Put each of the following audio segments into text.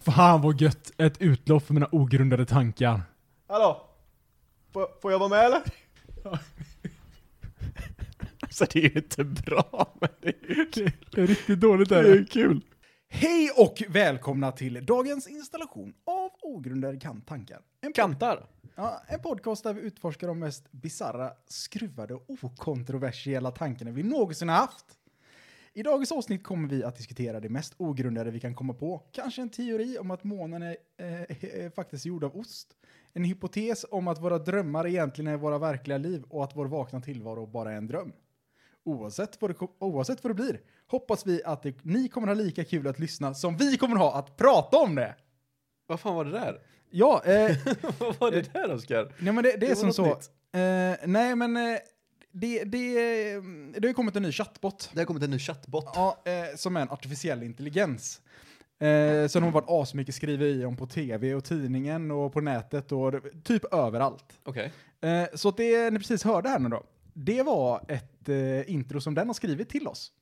Fan vad gött! Ett utlopp för mina ogrundade tankar. Hallå? Får, får jag vara med eller? Alltså det är ju inte bra, men det är ju kul. Det är riktigt dåligt Det är ju kul. Hej och välkomna till dagens installation av Ogrundade kanttankar. En, Kantar. ja, en podcast där vi utforskar de mest bizarra, skruvade och okontroversiella tankarna vi någonsin har haft. I dagens avsnitt kommer vi att diskutera det mest ogrundade vi kan komma på. Kanske en teori om att månen är, eh, är faktiskt gjord av ost. En hypotes om att våra drömmar egentligen är våra verkliga liv och att vår vakna tillvaro bara är en dröm. Oavsett vad det, ko- oavsett vad det blir hoppas vi att det, ni kommer ha lika kul att lyssna som vi kommer ha att prata om det. Vad fan var det där? Ja, eh, Vad var det där Oskar? nej men det, det är var som något så. nytt. Eh, nej men eh, det, det, eh, det har ju kommit en ny chattbot. Det har kommit en ny chattbot. Ja, eh, som är en artificiell intelligens. Eh, sen har det varit asmycket skriveri om på tv och tidningen och på nätet och det- typ överallt. Okej. Eh, så att det ni precis hörde här nu då, det var ett eh, intro som den har skrivit till oss.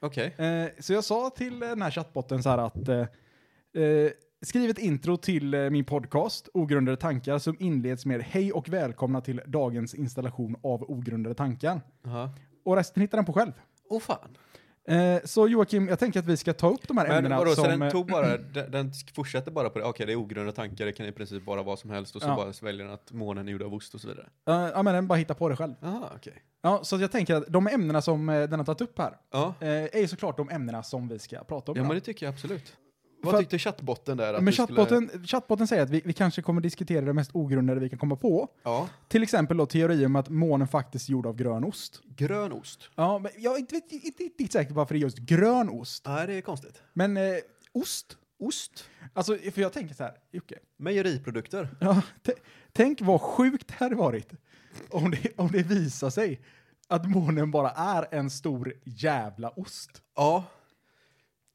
Okej. Eh, så jag sa till eh, den här chattbotten så här att eh, eh, skriv ett intro till eh, min podcast Ogrundade tankar som inleds med hej och välkomna till dagens installation av Ogrundade tankar. Jaha. Och resten hittar den på själv. Åh fan. Eh, så Joakim, jag tänker att vi ska ta upp de här Men ämnena vadå, som... så den eh, tog bara, den, den fortsätter bara på det? Okej, det är ogrundade tankar, det kan i princip vara vad som helst och så Ja. bara så väljer den att månen är gjord av ost och så vidare. eh, ja, men den bara hittar på det själv. Jaha, okej. Ja, så att jag tänker att de ämnena som eh, den har tagit upp här Ja. eh, är ju såklart de ämnena som vi ska prata om. ja, men idag. det tycker jag absolut. Vad För- tyckte chattbotten där? Att men vi skulle- chattbotten, chattbotten säger att vi, vi kanske kommer diskutera det mest ogrundade vi kan komma på. Ja, Till exempel då teori om att månen faktiskt är gjord av grön ost. grön ost. Ja, men jag är inte, inte, inte, riktigt säker på varför det är just grön ost. Nej, det är konstigt. Men eh, ost? Ost? Alltså, för jag tänker så här, Jocke. Mejeriprodukter? Ja, t- tänk vad sjukt det hade varit om det, om det visar sig att månen bara är en stor jävla ost. Ja.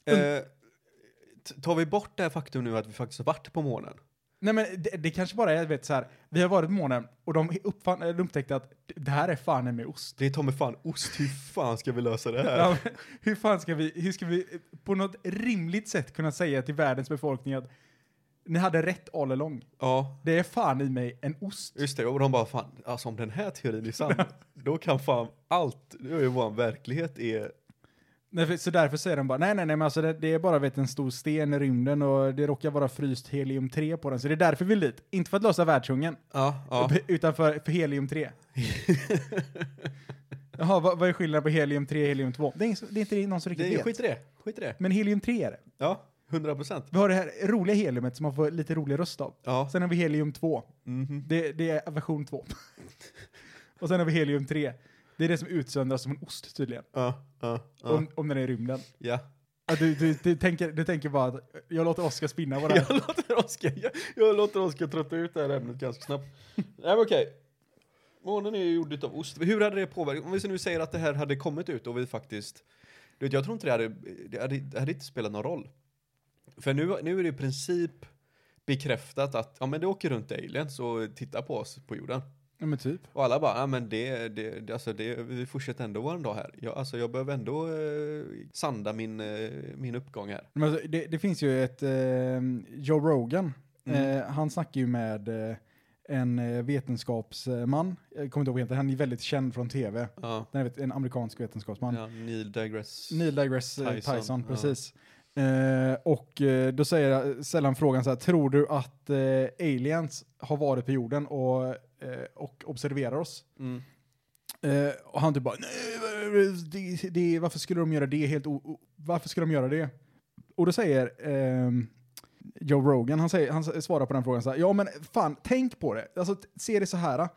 Eh, t- tar vi bort det här faktum nu att vi faktiskt har varit på månen? Nej men det, det kanske bara är, vet så här, vi har varit på månen och de, uppfann, eller upptäckte att det här är fan med ost. Det är ta mig fan ost, hur fan ska vi lösa det här? Ja, men hur fan ska vi, hur ska vi på något rimligt sätt kunna säga till världens befolkning att ni hade rätt all along. ja. Det är fan i mig en ost. Just det, och de bara fan, alltså om den här teorin är sann, då kan fan allt, då är ju vår verklighet är... Nej, för- Så därför säger de bara, nej nej nej men alltså det, det är bara vet, en stor sten i rymden och det råkar vara fryst helium-3 på den. Så det är därför vi vill dit. Inte för att lösa världshungern, Ja, ja. b- utan för, för helium-3. Jaha, vad, vad är skillnaden på helium-3 och helium-2? Det är, ingen som- det är inte någon som riktigt Det är, vet. skit i det, skit i det. Men helium-3 är det. Ja, 100 procent. Vi har det här roliga heliumet som man får lite rolig röst av. Ja. Sen har vi helium-2. Mhm. Det, det är version 2. och sen har vi helium-3. Det är det som utsöndras som en ost tydligen. Ja, ja, ja. Om, om den är i rymden. ja. Ja, du, du, du, tänker, du tänker bara att jag låter Oskar spinna på det Jag här. låter Oskar, jag, jag låter Oskar trötta ut det här ämnet ganska snabbt. Nej men okej. Månen är ju gjord av ost. Hur hade det påverkat? Om vi nu säger att det här hade kommit ut och vi faktiskt... Du vet, jag tror inte det hade, det hade, det hade inte spelat någon roll. För nu, nu är det i princip bekräftat att ja men det åker runt aliens och tittar på oss på jorden. Ja, men typ. Och alla bara, ja men det, det, det, alltså det, vi fortsätter ändå vår dag här. Jag, alltså jag behöver ändå eh, sanda min, eh, min uppgång här. Men alltså, det, det finns ju ett eh, Joe Rogan. Mm. Eh, han snackar ju med eh, en eh, vetenskapsman. Jag kommer inte ihåg vad han heter. Han är väldigt känd från tv. Ja, Den är vet- en amerikansk vetenskapsman. ja Neil deGrasse. Neil deGrasse eh, Tyson, Tyson, ja. precis. Eh, och eh, då säger jag, ställer han frågan så här, tror du att eh, aliens har varit på jorden och, eh, och observerar oss? Mm. Eh, och han typ bara, nej, det, det, varför skulle de göra det helt o, o, Varför skulle de göra det? Och då säger ehm, Joe Rogan, han, säger, han s- svarar på den frågan så här, ja men fan, tänk på det. Alltså, t- se det så här.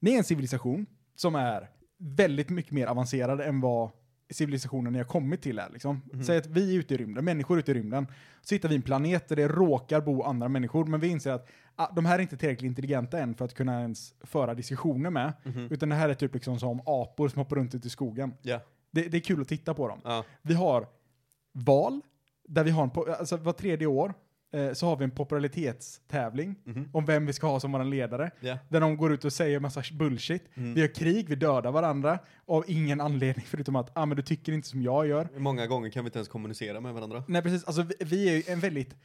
Ni är en civilisation som är väldigt mycket mer avancerad än vad civilisationen ni har kommit till är. Liksom. Säg att vi är ute i rymden, människor ute i rymden. Så hittar vi en planet där det råkar bo andra människor, men vi inser att ah, de här är inte tillräckligt intelligenta än för att kunna ens föra diskussioner med. Mm-hmm. Utan det här är typ liksom som apor som hoppar runt ute i skogen. Ja, Det, det är kul att titta på dem. ja. Vi har val, där vi har en, po- alltså var tredje år eh, så har vi en popularitetstävling Mhm. om vem vi ska ha som vår ledare. Ja. Där de går ut och säger massa bullshit. Mm. Vi har krig, vi dödar varandra av ingen anledning förutom att ah, men du tycker inte som jag gör. Många gånger kan vi inte ens kommunicera med varandra. Nej precis, alltså vi, vi är ju en väldigt,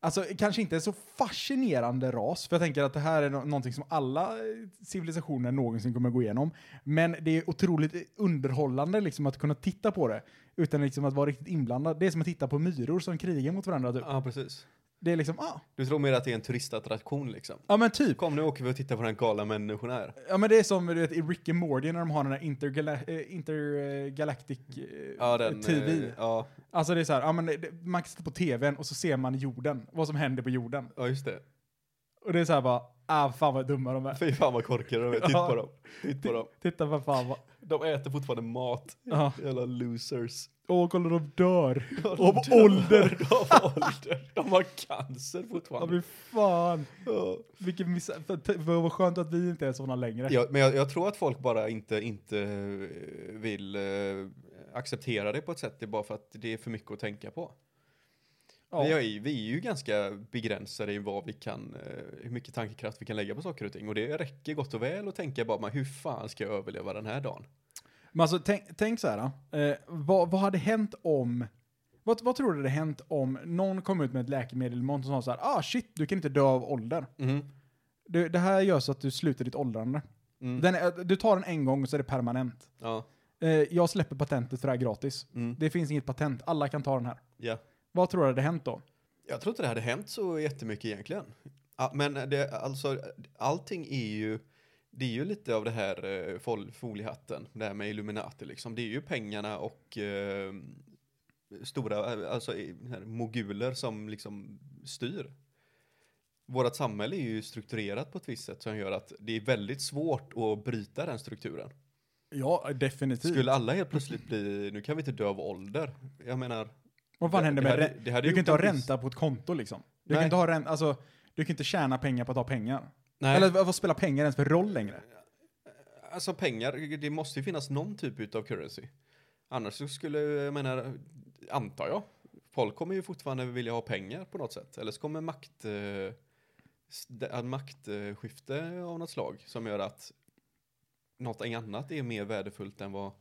Alltså kanske inte en så fascinerande ras, för jag tänker att det här är nå- någonting som alla eh, civilisationer någonsin kommer gå igenom. Men det är otroligt underhållande liksom att kunna titta på det utan liksom att vara riktigt inblandad. Det är som att titta på myror som krigar mot varandra typ. Ja, precis. Det är liksom, ah, Du tror mer att det är en turistattraktion liksom? ja men typ. Kom nu åker vi och tittar på den galna människan här. Ja men det är som du vet, i Rick and Morty när de har den här intergala- eh, intergalactic eh, Ja, den... TV. eh, Ja, Alltså det är så här, ja, men det- det- man kan sitta på tvn och så ser man jorden, vad som händer på jorden. ja, just det. Och det är så här bara, ah fan vad dumma de är. Fy fan vad korkade de är. Titta på dem. Titta på dem. Titta vad fan vad... De äter fortfarande mat. Ja. Jävla losers. Åh kolla de dör. Av ålder! Av ålder. De har cancer Ja fortfarande. men fan. Ja. Vilken miss... för- t- för Vad skönt att vi inte är såna längre. Ja, men jag, jag tror att folk bara inte, inte eh, vill eh, acceptera det på ett sätt. Det är bara för att det är för mycket att tänka på. Ja. Vi, är, ju- vi är ju ganska begränsade i vad vi kan, eh, hur mycket tankekraft vi kan lägga på saker och ting. Och det räcker gott och väl att tänka bara, "Men hur fan ska jag överleva den här dagen? Men alltså tänk, tänk så här. Eh, vad, vad hade hänt om... Vad, vad tror du hade hänt om någon kom ut med ett läkemedel imorgon som sa så här, ah shit, du kan inte dö av ålder. Mm. Det, det här gör så att du slutar ditt åldrande. Mm. Den är, du tar den en gång och så är det permanent. Ja, Eh, jag släpper patentet för det här gratis. Mm. Det finns inget patent, alla kan ta den här. ja. Vad tror du hade hänt då? Jag tror inte det hade hänt så jättemycket egentligen. Ja, men det, alltså, allting är ju, det är ju lite av det här eh, fol- foliehatten, det här med Illuminati liksom. Det är ju pengarna och eh, stora, eh, alltså eh, här, moguler som liksom styr. Vårt samhälle är ju strukturerat på ett visst sätt som gör att det är väldigt svårt att bryta den strukturen. Ja, definitivt. Skulle alla helt plötsligt bli, nu kan vi inte dö av ålder. Jag menar, Vad fan Det- händer det med hade- rä- det hade Du kan gjort inte ha en viss- ränta på ett konto liksom. Du Nej. kan inte ha ränta, alltså, du kan inte tjäna pengar på att ha pengar. nej. Eller vad vad spelar pengar ens för roll längre? Alltså pengar, det måste ju finnas någon typ av currency. Annars så skulle, jag menar, antar jag, folk kommer ju fortfarande vilja ha pengar på något sätt. Eller så kommer makt, eh, s- det- en maktskifte av något slag som gör att något annat är mer värdefullt än vad...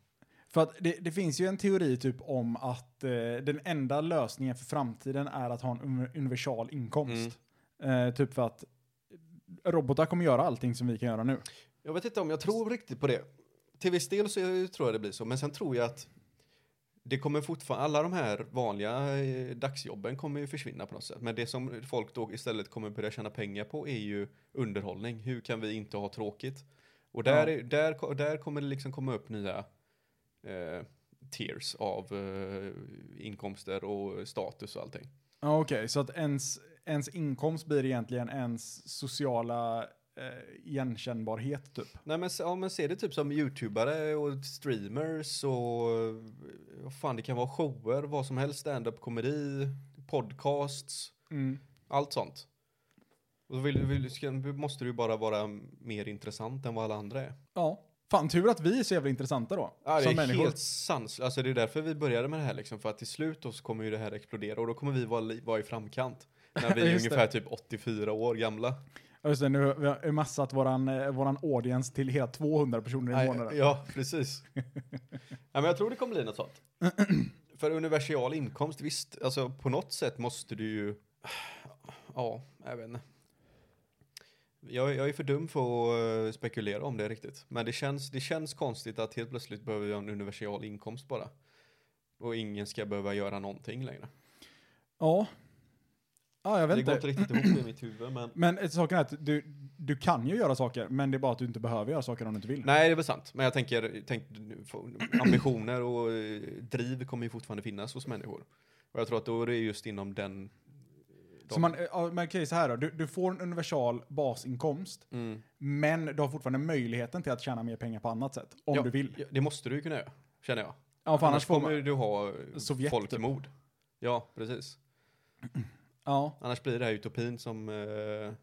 För att det, det finns ju en teori typ om att eh, den enda lösningen för framtiden är att ha en uni- universal inkomst. Eh, typ för att robotar kommer göra allting som vi kan göra nu. Jag vet inte om jag tror riktigt på det. Till viss del så jag- tror jag det blir så, men sen tror jag att det kommer fortfarande, alla de här vanliga eh, dagsjobben kommer ju försvinna på något sätt. Men det som folk då istället kommer börja tjäna pengar på är ju underhållning. Hur kan vi inte ha tråkigt? Och där, är, där, ko- där kommer det liksom komma upp nya eh, tiers av eh, inkomster och status och allting. Ja, Okej, så att ens, ens inkomst blir egentligen ens sociala eh, igenkännbarhet typ. Nej men, se- ja, men ser det typ som youtubare och streamers och eh, vad fan det kan vara shower, vad som helst, stand-up komedi, podcasts, Mm. allt sånt. Och då vill, vill, ska, måste du ju bara vara mer intressant än vad alla andra är. Ja. Fan, tur att vi är så jävla intressanta då. Ja, det som är människor. helt sanslöst. Alltså det är därför vi började med det här liksom. För att till slut då så kommer ju det här explodera och då kommer vi vara, li- vara i framkant. När vi är Just det. ungefär typ 84 år gamla. Ja, Just det, nu har vi har massat våran, eh, våran audience till hela 200 personer i Nej, månaden. Ja, precis. Nej, men jag tror det kommer bli något sånt. För universal inkomst, visst, alltså på något sätt måste du ju... Ja, jag vet inte. Jag, jag är för dum för att eh, spekulera om det riktigt. Men det känns, det känns konstigt att helt plötsligt behöver vi ha en universal inkomst bara. Och ingen ska behöva göra någonting längre. Ja. Ja, jag vet Det går inte. inte riktigt ihop i mitt huvud, men... Men eh, saken är att du, du kan ju göra saker, men det är bara att du inte behöver göra saker om du inte vill. Nej, det är väl sant. Men jag tänker, tänk, ambitioner och eh, driv kommer ju fortfarande finnas hos människor. Och jag tror att då är det just inom den... Så man, eh, ja, man kan ju så här då, du, du får en universal basinkomst, Mm. men du har fortfarande möjligheten till att tjäna mer pengar på annat sätt, om Ja, du vill. ja, Det måste du ju kunna göra, känner jag. Ja, för annars får kommer man, du ha eh, Sovjet, typ. Sovjet, folkmord. Ja, precis. ja. Annars blir det här utopin som eh,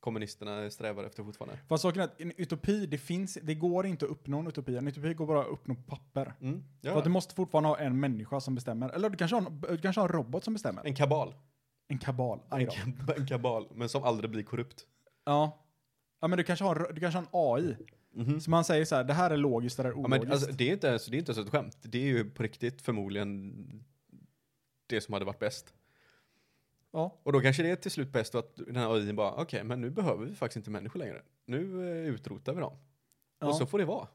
kommunisterna strävar efter fortfarande. Fast saken är att en utopi, det finns, det går inte att uppnå en utopi. En utopi går bara att uppnå på papper. Mm. För att du Ja. måste fortfarande ha en människa som bestämmer. Eller du kanske har en, du kanske har en robot som bestämmer. En kabal. En kabal. Aj En, då. kab- en kabal, men som aldrig blir korrupt. Ja. Ja, men du kanske har, du kanske har en AI. Så man säger så här, det här är logiskt, det här är Ja, ologiskt. men, alltså, det, är inte ens, det är inte ens ett skämt. Det är ju på riktigt förmodligen det som hade varit bäst. Ja. Och då kanske det är till slut bäst att den här AI bara, okej, men nu behöver vi faktiskt inte människor längre. Nu eh, utrotar vi dem. ja. Och så får det vara.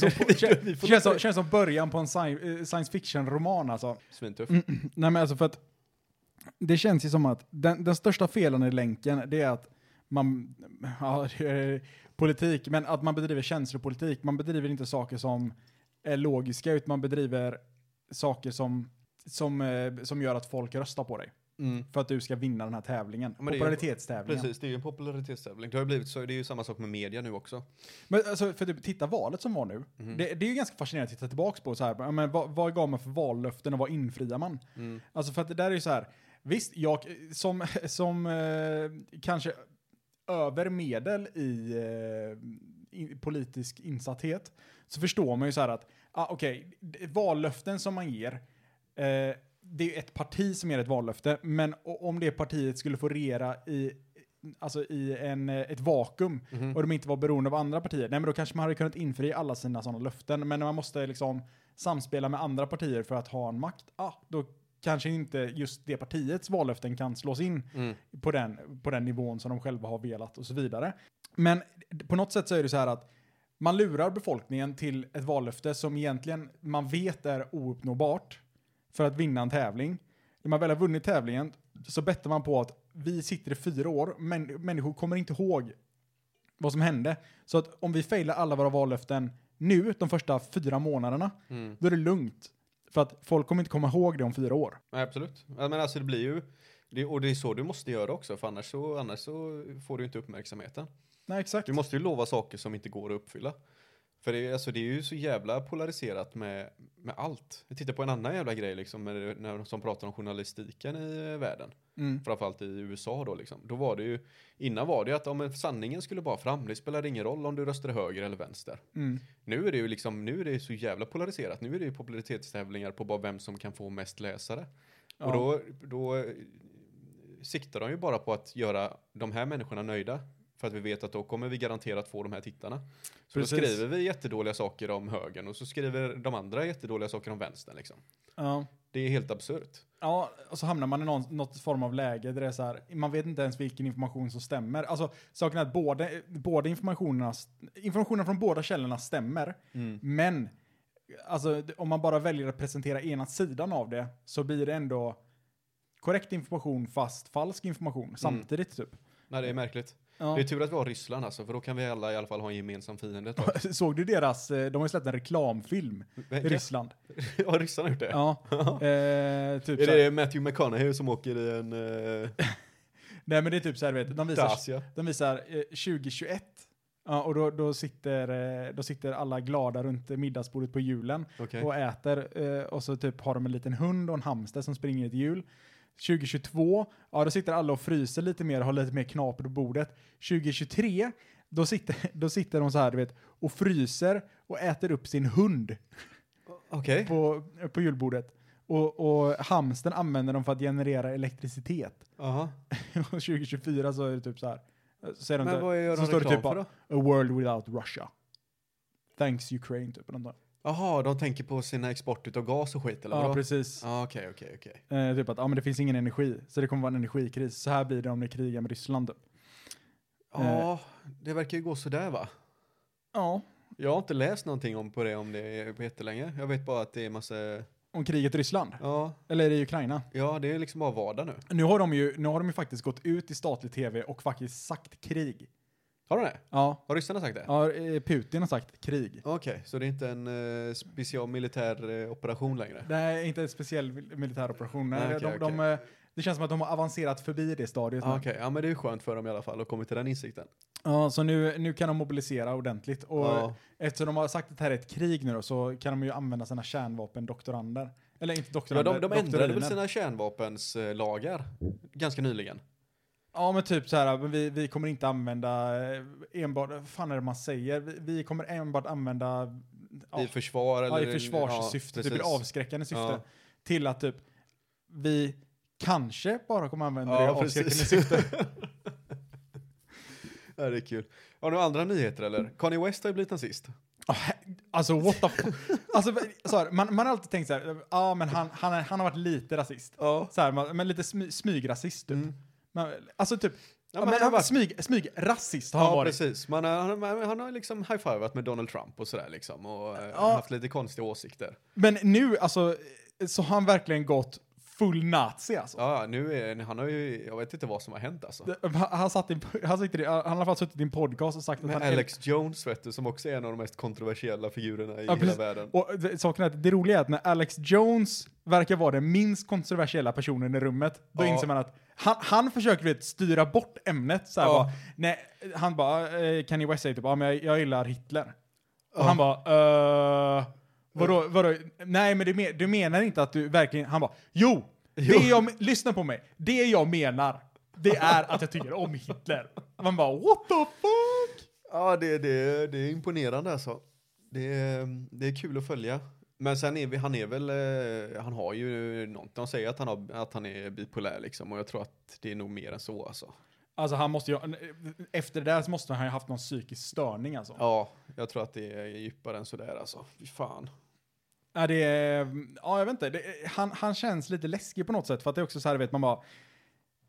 som, kän- känns, som, känns som början på en sci- eh, science fiction-roman alltså. Svintufft. Nej men alltså för att det känns ju som att den, den största felen i länken det är att man, ja, det är politik, men att man bedriver känslopolitik. Man bedriver inte saker som är logiska utan man bedriver saker som, som, eh, som gör att folk röstar på dig. Mm. För att du ska vinna den här tävlingen. men det är ju- Popularitetstävlingen. Precis, det är ju en popularitetstävling. Det har ju blivit så, det är ju samma sak med media nu också. Men alltså, för typ, titta valet som var nu. Det, det är ju ganska fascinerande att titta tillbaka på. Så här, ja, men, vad, vad gav man för vallöften och vad infriar man? Mm. Alltså för att det där är ju så här. Visst, jag som, som eh, kanske övermedel i, eh, i politisk insatthet så förstår man ju så här att ah, okej, d- vallöften som man ger eh, det är ju ett parti som ger ett vallöfte, men o- om det partiet skulle få regera i, alltså i en, eh, ett vakuum Mm. och de inte var beroende av andra partier, nej men då kanske man hade kunnat infri alla sina sådana löften. Men när man måste liksom samspela med andra partier för att ha en makt, ah, då kanske inte just det partiets vallöften kan slås in Mm. på, den, på den nivån som de själva har velat och så vidare. Men på något sätt så är det så här att man lurar befolkningen till ett vallöfte som egentligen man vet är ouppnåbart för att vinna en tävling. När man väl har vunnit tävlingen så bettar man på att vi sitter i fyra år, men människor kommer inte ihåg vad som hände. Så att om vi failar alla våra vallöften nu, de första fyra månaderna, Mm. då är det lugnt. För att folk kommer inte komma ihåg det om fyra år. Nej, absolut. Ja, men alltså det blir ju, det, och det är så du måste göra också, för annars så, annars så får du inte uppmärksamheten. Nej, exakt. Du måste ju lova saker som inte går att uppfylla. För det, är- alltså, det är ju så jävla polariserat med, med allt. Jag tittar på en annan jävla grej liksom, med, när, som pratar om journalistiken i eh, världen. Mm. Framförallt i USA då liksom. Då var det ju, innan var det ju att om sanningen skulle bara fram, det spelade ingen roll om du röstade höger eller vänster. Mm. Nu är det ju liksom, nu är det ju så jävla polariserat. Nu är det ju popularitetstävlingar på bara vem som kan få mest läsare. Och då, då eh, siktar de ju bara på att göra de här människorna nöjda. För att vi vet att då kommer vi garanterat få de här tittarna. Så Precis. då skriver vi jättedåliga saker om högern och så skriver de andra jättedåliga saker om vänstern liksom. Ja. Det är helt absurt. Ja, och så hamnar man i någon, något form av läge där det är så här, man vet inte ens vilken information som stämmer. Alltså, saken är att båda, båda informationerna, informationen från båda källorna stämmer, men alltså, d- om man bara väljer att presentera ena sidan av det så blir det ändå korrekt information fast falsk information samtidigt typ. Nej, det är märkligt. Ja. Det är tur att vi har Ryssland alltså, för då kan vi alla i alla fall ha en gemensam fiende ett tag. Såg du deras, eh, de har ju släppt en reklamfilm i Vilka? Ryssland. Har ryssarna gjort det? Ja, eh, typ Är så här- det Matthew McConaughey som åker i en... eh, Nej men det är typ så här, vet, du, de visar, Dacia. de visar eh, 2021. Ja, och då, då, sitter, eh, då sitter alla glada runt middagsbordet på julen Okej. och äter. Eh, och så typ har de en liten hund och en hamster som springer i ett hjul. 2022, ja då sitter alla och fryser lite mer och har lite mer knaper på bordet. 2023, då sitter, då sitter de så här du vet, och fryser och äter upp sin hund Okej. på, på julbordet. Och, och hamsten använder dem för att generera elektricitet. Jaha. Och 2024 så är det typ så här. Så är det Men inte- vad gör så de står det reklam typ för bara, A world without Russia. Thanks Ukraine typ. eller nåt där. Jaha, de tänker på sina export utav gas och skit eller Ja, vadå? precis. Ja, okej, okej, okej. Eh, typ att ah, men det finns ingen energi, så det kommer vara en energikris. Så här blir det om det krigar med Ryssland. typ. Ja, Eh. det verkar ju gå sådär va? Ja. Jag har inte läst någonting om på det om det på jättelänge. Jag vet bara att det är massa... Om kriget i Ryssland. Ja, Eller är det i Ukraina? ja det är liksom bara vardag nu. Nu har, de ju, nu har de ju faktiskt gått ut i statlig tv och faktiskt sagt krig. Har de det? Ja. Har ryssarna sagt det? ja eh, Putin har sagt krig. Okej, så det är inte en eh, special militär eh, operation längre? Det här är inte en speciell mil- militär operation. Nej, Nej, okej, de, de, okej. eh, det känns som att de har avancerat förbi det stadiet. nu. Ah, Okej, ja men det är skönt för dem i alla fall att kommit till den insikten. Ja, så nu, nu kan de mobilisera ordentligt. Och Ja. eftersom de har sagt att det här är ett krig nu då, så kan de ju använda sina kärnvapendoktorander. Eller inte Ja, doktorander, de, de ändrade doktoriner. väl sina kärnvapenslagar ganska nyligen? Ja, men typ så här, men vi, vi kommer inte använda eh, enbart, vad fan är det man säger? Vi, vi kommer enbart använda... Ja, I försvar eller? ja, i försvarssyfte, ja, typ i precis. avskräckande syfte. Ja. Till att typ, vi kanske bara kommer använda det i Ja, avskräckande precis. syfte. ja, det är kul. Har du några andra nyheter eller? Kanye West har ju blivit nazist. Ja, he- Alltså what the fuck. Alltså, så här, man, man har alltid tänkt så här, ja ah, men han, han, är- han har varit lite rasist. Ja. Så här, man, men lite smy, smygrasist typ. Man, alltså typ, ja, men han han har varit- smyg, smygrasist har han Ja, varit. precis. Man, har- han, har- han har liksom high-fivat med Donald Trump och sådär liksom. Och eh, Ja. haft lite konstiga åsikter. Men nu alltså, så har han verkligen gått full nazi alltså. Ja, ja, nu är han har ju, jag vet inte vad som har hänt alltså. Det- Han, han, satt i, han, sitter i, han har i alla fall suttit i en podcast och sagt att Med han Alex Jones vet du, som också är en av de mest kontroversiella figurerna i Ja, hela precis. världen. Och eh, det, saken är att det roliga är att när Alex Jones verkar vara den minst kontroversiella personen i rummet, då Ja. inser man att han, han försöker vet, styra bort ämnet. Så här, Ja. bara, nej, han bara, eh, Kanye West säger typ, ah, men jag, jag gillar Hitler. Och han bara, eh, vadå, vadå, nej men du, men, du menar inte att du verkligen, han bara, jo, Det jag, men- lyssna på mig, det jag menar, det är att jag tycker om Hitler. Man bara, what the fuck? Ja, det, det, det är imponerande alltså. Det, är- det är kul att följa. Men sen är vi, han är väl, eh, han har ju något. De säger att han, har, att han är bipolär liksom och jag tror att det är nog mer än så alltså. Alltså han måste ju, efter det där så måste han ju haft någon psykisk störning alltså. Ja, jag tror att det är djupare än sådär alltså. Fy fan. Ja, det är, ja jag vet inte. Det, han, han känns lite läskig på något sätt för att det är också så här, vet man bara,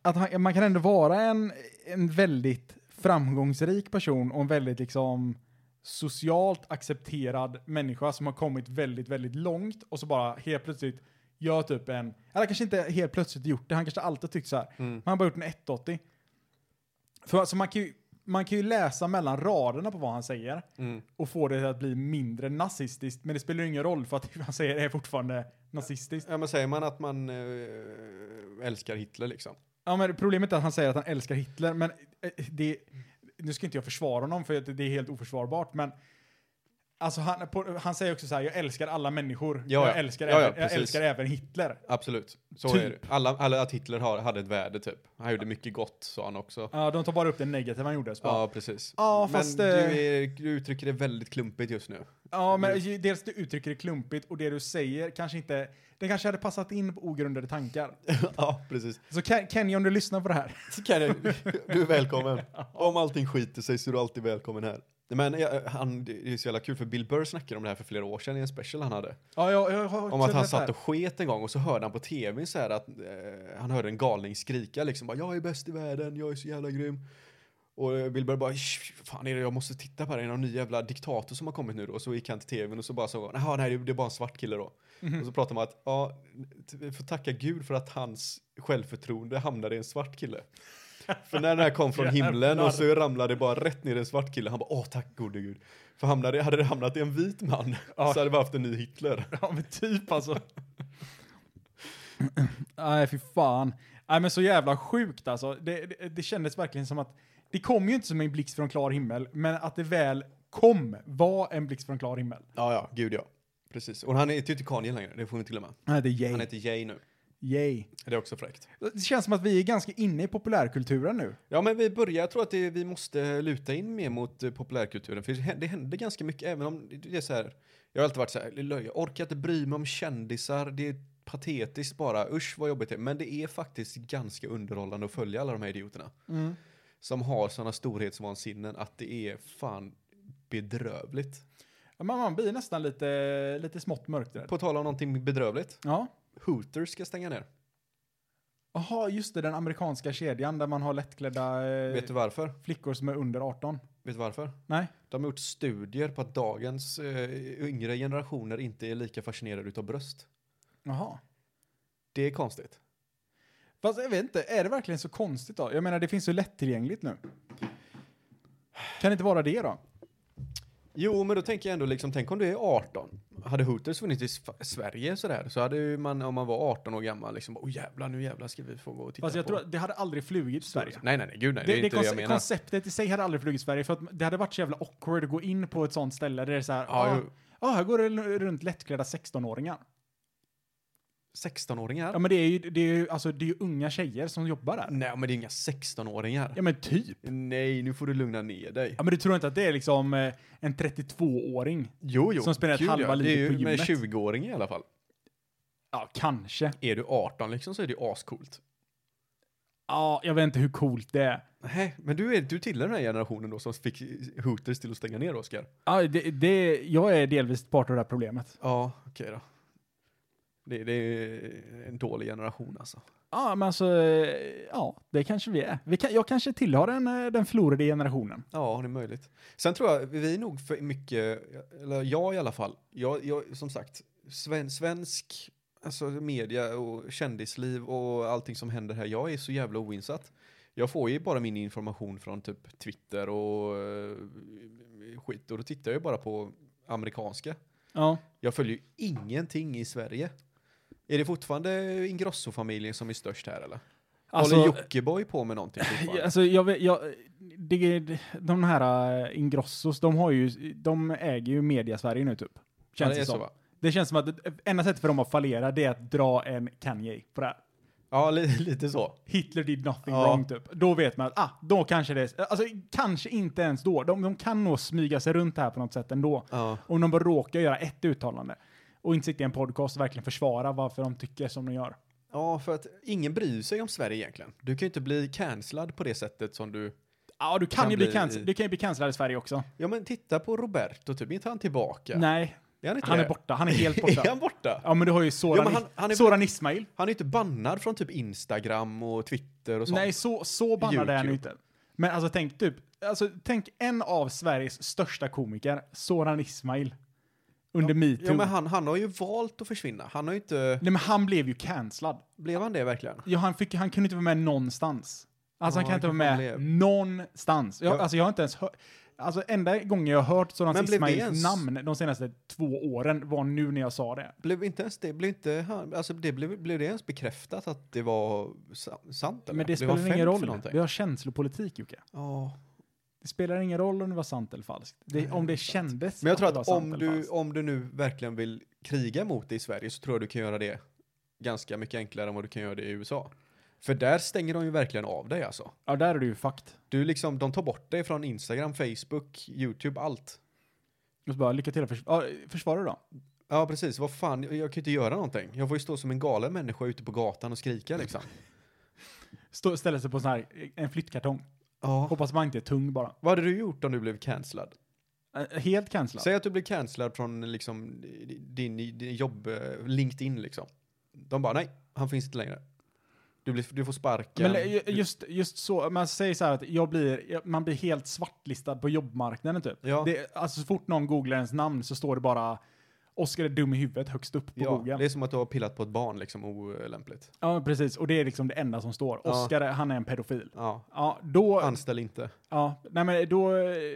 att han, man kan ändå vara en, en väldigt framgångsrik person och en väldigt liksom socialt accepterad människa som har kommit väldigt, väldigt långt och så bara helt plötsligt gör typ en, eller kanske inte helt plötsligt gjort det, han kanske alltid tyckt så här, Mm, men han har bara gjort en 180. För alltså man kan ju, man kan ju läsa mellan raderna på vad han säger mm. och få det att bli mindre nazistiskt. Men det spelar ju ingen roll för att det han säger är fortfarande nazistiskt. Ja, men säger man att man eh, älskar Hitler liksom? Ja, men problemet är att han säger att han älskar Hitler, men eh, det... Nu ska inte jag försvara honom för att det är helt oförsvarbart, men Alltså han, på, han säger också så här, jag älskar alla människor. Ja, jag, ja. älskar Ja, ja, även, jag precis. älskar även Hitler. Absolut. Så Typ. är det. Alla, alla att Hitler har, hade ett värde typ. Han gjorde mycket gott sa han också. Ja, de tar bara upp det negativa han gjorde. så bara, Ja, precis. Ja, men fast, du, eh, är, du uttrycker det väldigt klumpigt just nu. Ja, men ju- dels du uttrycker det klumpigt och det du säger kanske inte... Det kanske hade passat in på ogrundade tankar. ja, precis. Så Ken- Kenny, om du lyssnar på det här. Så kan jag, du är välkommen. Om allting skiter sig så är du alltid välkommen här. Men jag, han, det är så jävla kul för Bill Burr snackade om det här för flera år sedan i en special han hade. Ja, jag, jag har Om att han sett det här. satt och sket en gång och så hörde han på tv så här att eh, han hörde en galning skrika liksom bara, jag är bäst i världen, jag är så jävla grym. Och eh, Bill Burr bara, "Shh, fan är det, jag måste titta på det, här. är det någon ny jävla diktator som har kommit nu då? Och så gick han till tvn och så bara så, jaha nej det det är bara en svart kille då. Mhm. Och så pratade man att, ja, t- vi får tacka gud för att hans självförtroende hamnade i en svart kille. För när den här kom från himlen och så ramlade det bara rätt ner i en svart kille, han bara, åh tack gode gud. För hamnade, hade det hamnat i en vit man så hade vi haft en ny Hitler. Ja men typ alltså. Nej fy fan. Nej men så jävla sjukt alltså. Det, det, det kändes verkligen som att det kom ju inte som en blixt från klar himmel, men att det väl kom var en blixt från klar himmel. Ja, ja, gud ja. Precis. Och han heter ju inte Kanye längre, det får vi inte glömma. Han heter Yay. Han heter Jay nu. Yay. Det är också fräckt. Det känns som att vi är ganska inne i populärkulturen nu. Ja, men vi börjar, jag tror att det, vi måste luta in mer mot eh, populärkulturen, för det hä- det händer ganska mycket, även om det är så här, jag har alltid varit så här, "Löj, jag orkar inte bry mig om kändisar, det är patetiskt bara, usch vad jobbigt det är. Men det är faktiskt ganska underhållande att följa alla de här idioterna. Som har sådana storhetsvansinnen att det är fan bedrövligt. Ja, Man, man blir nästan lite, lite smått mörkrädd. På tal om någonting bedrövligt, Ja. Hooters ska stänga ner. Jaha, just det, den amerikanska kedjan där man har lättklädda eh, Vet du varför? flickor som är under 18. Vet du varför? Nej. De har gjort studier på att dagens eh, yngre generationer inte är lika fascinerade utav bröst. Jaha. Det är konstigt. Fast jag vet inte, är det verkligen så konstigt då? Jag menar, det finns så lättillgängligt nu. Kan det inte vara det då? Jo, men då tänker jag ändå liksom, tänk om du är 18. Hade Hooters funnits i Sf- Sverige sådär, så hade ju man, om man var 18 år gammal, liksom, bara, åh jävlar, nu jävlar ska vi få gå och titta Fast jag på. tror att det hade aldrig flugit i Sverige. Nej, nej, nej, gud nej, Det, det, det, är inte det, konce- jag menar. konceptet i sig hade aldrig flugit i Sverige för att det hade varit så jävla awkward att gå in på ett sånt ställe där det är så här, Ja, ah, jo. ah, här går det l- runt lättklädda 16-åringar. 16-åringar? Ja men det är ju, det är ju, alltså, det är ju unga tjejer som jobbar där. Nej, men det är inga 16-åringar. Ja men typ. Nej, nu får du lugna ner dig. Ja men du tror inte att det är liksom eh, en 32-åring? Jo, jo. Som spenderat gud, halva ja. livet på Det är ju med gymmet. 20-åring i alla fall. Ja, kanske. Är du 18 liksom så är det ju ascoolt. Ja, jag vet inte hur coolt det är. Nej, men du, är, du tillhör den här generationen då som fick Hooters till att stänga ner Oskar. Ja, det, det, jag är delvis part av det här problemet. Ja, okej då. Det, det är en dålig generation alltså. Ja, men alltså, eh, ja, det kanske vi är. Vi kan, jag kanske tillhör den, eh, den förlorade generationen. Ja, det är möjligt. Sen tror jag, vi är nog för mycket, eller jag i alla fall, jag, jag, som sagt, sven, svensk alltså media och kändisliv och allting som händer här, jag är så jävla oinsatt. Jag får ju bara min information från typ Twitter och eh, skit, och då tittar jag ju bara på amerikanska. Ja. Jag följer ju ingenting i Sverige. Är det fortfarande Ingrosso-familjen som är störst här eller? Alltså, Håller Jockiboi på med någonting fortfarande? alltså jag, vet- jag, det, de här eh, Ingrossos, de, har ju, de äger ju media-Sverige nu typ. Ja, Känns det det, Alltså, är så som. va? det känns som att det- enda sättet för dem att fallera det är att dra en Kanye på det här. Ja, li- lite så. Hitler did nothing Ja. wrong typ. Då vet man att, ah, då kanske det är, alltså kanske inte ens då. De, de kan nog smyga sig runt det här på något sätt ändå. Ja. Om de bara råkar göra ett uttalande och inte sitta i en podcast och verkligen försvara varför de tycker som de gör. Ja, för att ingen bryr sig om Sverige egentligen. Du kan ju inte bli cancellad på det sättet som du... Ja, du kan, Kan ju bli, bli- cancel, du kan ju bli cancellad i Sverige också. Ja, men titta på Roberto, typ. Är inte han tillbaka? Nej, Är han inte han det? är borta. Han är helt Är borta. han borta? ja, men du har ju Ja, Soran, men han- han är- Soran Ismail. Han är ju inte bannad från typ Instagram och Twitter och sånt. Nej, så, så bannad är han ju YouTube. inte. Men alltså tänk typ, alltså tänk en av Sveriges största komiker, Soran Ismail, under metoo. ja, men han, han har ju valt att försvinna. Han har ju inte... Nej men han blev ju cancellad. Blev han det verkligen? Ja, han, fick, han kunde inte vara med någonstans. Alltså Ja, han kan inte det vara kanske med han någonstans. Jag, Ja. Alltså jag har inte ens hört... Alltså enda gången jag har hört Men Soran blev det Ismails ens- namn de senaste två åren var nu när jag sa det. Blev inte ens det, blev inte han, alltså det blev, blev det ens bekräftat att det var sa- sant eller? Men det Blev han spelar ingen fälld för roll. någonting? Vi har känslopolitik Jocke. Ja. Det spelar ingen roll om det var sant eller falskt. Det, om det, kändes Men jag tror det att var sant om eller du, falskt. om du nu verkligen vill kriga mot det i Sverige så tror jag du kan göra det ganska mycket enklare än vad du kan göra det i USA. För där stänger de ju verkligen av dig alltså. Ja, där är du ju fucked. Du liksom, de tar bort dig från Instagram, Facebook, YouTube, allt. Och så bara, lycka till att förs- ja, försvara dig då. Ja precis, vad fan, jag, jag kan ju inte göra någonting. Jag får ju stå som en galen människa ute på gatan och skrika liksom. Stå, ställa sig på en sån här, en flyttkartong. Ja. Hoppas man inte är tung bara. Vad hade du gjort om du blev cancellad? Eh, Helt cancellad. Säg att du blir cancellad från liksom din, din jobb, eh, LinkedIn liksom. De bara nej, han finns inte längre. Du, blir, du får sparken. Men ju- just, just så, man säger så här att jag blir, jag- man blir helt svartlistad på jobbmarknaden typ. Ja. Det, alltså så fort någon googlar ens namn så står det bara Oskar är dum i huvudet högst upp på ja, Google. det är som att du har pillat på ett barn liksom olämpligt. Ja, precis. Och det är liksom det enda som står. Ja. Oskar, han är en pedofil. Ja, Ja, då, anställ inte. ja, nej men då,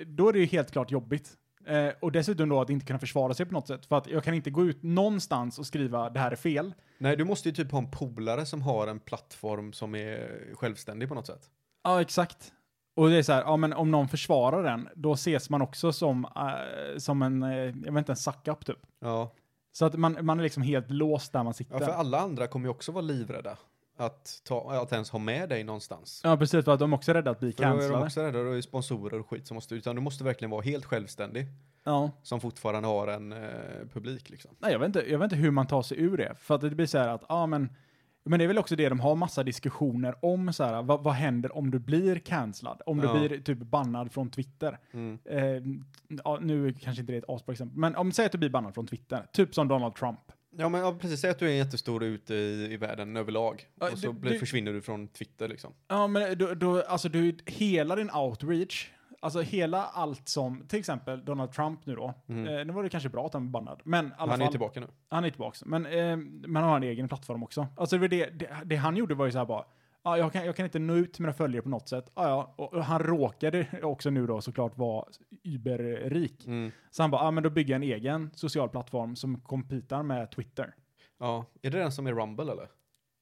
då är det ju helt klart jobbigt. Eh, och dessutom då att inte kunna försvara sig på något sätt. För att jag kan inte gå ut någonstans och skriva det här är fel. Nej, du måste ju typ ha en polare som har en plattform som är självständig på något sätt. Ja, exakt. Och det är så här, ja men om någon försvarar den, då ses man också som, eh, som en, eh, jag vet inte, en suck-up typ. Ja. Så att man, man är liksom helt låst där man ja, sitter. för alla andra kommer ju också vara livrädda att, ta, att ens ha med dig någonstans. Ja, precis, för att de också är rädda att bli För då är de cancellade. också rädda, då är det sponsorer och skit som måste, utan du måste verkligen vara helt självständig Ja. som fortfarande har en eh, publik liksom. Nej, jag vet, inte, jag vet inte hur man tar sig ur det. För att det blir så här att, ja men, men det är väl också det de har massa diskussioner om så här, vad, vad händer om du blir cancellad? Om du Ja. blir typ bannad från Twitter. Mm. Eh, ja, nu kanske inte det är ett asbra exempel, men om säg att du blir bannad från Twitter, typ som Donald Trump. Ja men ja, precis, säg att du är jättestor ute i, i världen överlag. Ja, och så du- blir, du- försvinner du från Twitter liksom. Ja, men då, då, alltså du, hela din outreach, alltså hela allt som, till exempel Donald Trump nu då, Mm. eh, nu var det kanske bra att han var bannad, men i alla Han är fall, ju tillbaka nu. han är tillbaka. Men eh, man har en egen plattform också. Alltså det, var det, det, det han gjorde var ju så här bara, ja, jag, kan, jag kan inte nå ut till mina följare på något sätt. Ja, ja, och, och han råkade också nu då såklart vara überrik. Mm. Så han bara, ja men då bygger jag en egen social plattform som kompitar med Twitter. Ja, är det den som är Rumble eller?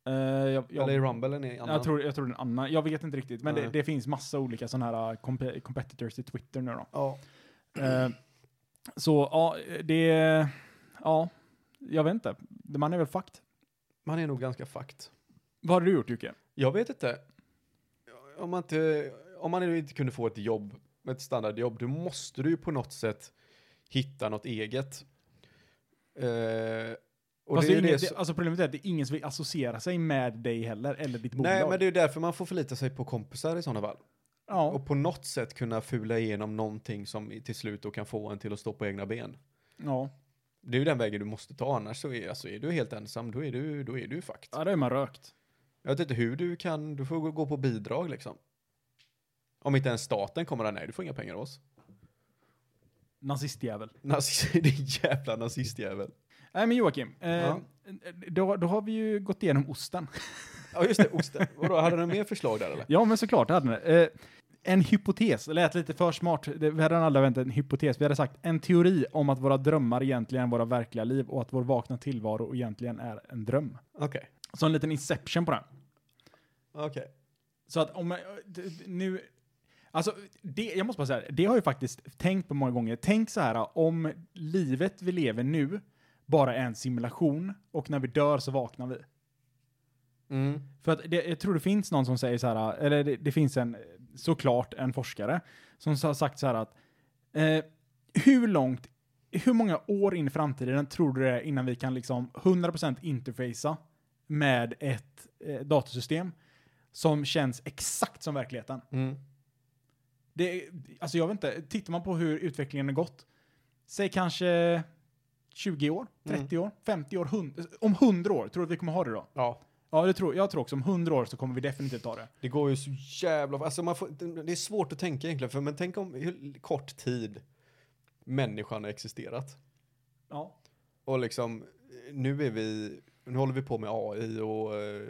Eh, jag, jag, Eller är Rumble en annan? Jag tror, jag tror det är en annan. Jag vet inte riktigt, men det, Nej. det finns massa olika sådana här uh, comp- competitors till Twitter nu då. Ja. Mm. Eh, så ja, det... Ja, jag vet inte. Man är väl fucked. Man är nog ganska fucked. Vad har du gjort Jocke? Jag vet inte. Om man inte, om man inte kunde få ett jobb, ett standardjobb, då måste du ju på något sätt hitta något eget. Eh, Och Fast det är det inget, som- det, alltså problemet är att det är ingen som vill associera sig med dig heller, eller ditt bolag. Nej, men det är ju därför man får förlita sig på kompisar i sådana fall. ja. Och på något sätt kunna fula igenom någonting som i- till slut då kan få en till att stå på egna ben. Ja. Det är ju den vägen du måste ta, annars så är, alltså, är du helt ensam, då är du, då är du fakt. ja, det är man rökt. Jag vet inte hur du kan, du får gå- gå på bidrag liksom. Om inte ens staten kommer att, nej du får inga pengar av oss. Nazistjävel. Nazist, din jävla nazistjävel. Nej, men Joakim. Eh, Ja. då, då har vi ju gått igenom osten. Ja just det, osten. Vadå, hade du några mer förslag där eller? Ja, men såklart, det hade ni. Eh, en hypotes, det lät lite för smart. Det, vi hade alla väntat en hypotes. Vi hade sagt en teori om att våra drömmar egentligen är våra verkliga liv och att vår vakna tillvaro egentligen är en dröm. Okej. Så en liten inception på den. Okej. Så att om man, d- d- nu, alltså det, jag måste bara säga, det har jag faktiskt tänkt på många gånger. Tänk så här, om livet vi lever nu bara är en simulation och när vi dör så vaknar vi. Mm. För att det, jag tror det finns någon som säger så här, eller det, det finns en, såklart en forskare, som har sagt så här att eh, hur långt, hur många år in i framtiden tror du det är innan vi kan liksom 100% interfacea med ett eh, datasystem som känns exakt som verkligheten? Mm. Det, är- alltså jag vet inte, tittar man på hur utvecklingen har gått, säg kanske 20 år, 30 år, 50 år, 100, om 100 år, tror du att vi kommer ha det då? Ja. Ja, det tror, jag tror också om 100 år så kommer vi definitivt ta det. Det går ju så jävla... Alltså man får, det- det är svårt att tänka egentligen, för, men tänk om hur kort tid människan har existerat. Ja. Och liksom, nu är vi... Nu håller vi på med AI och eh,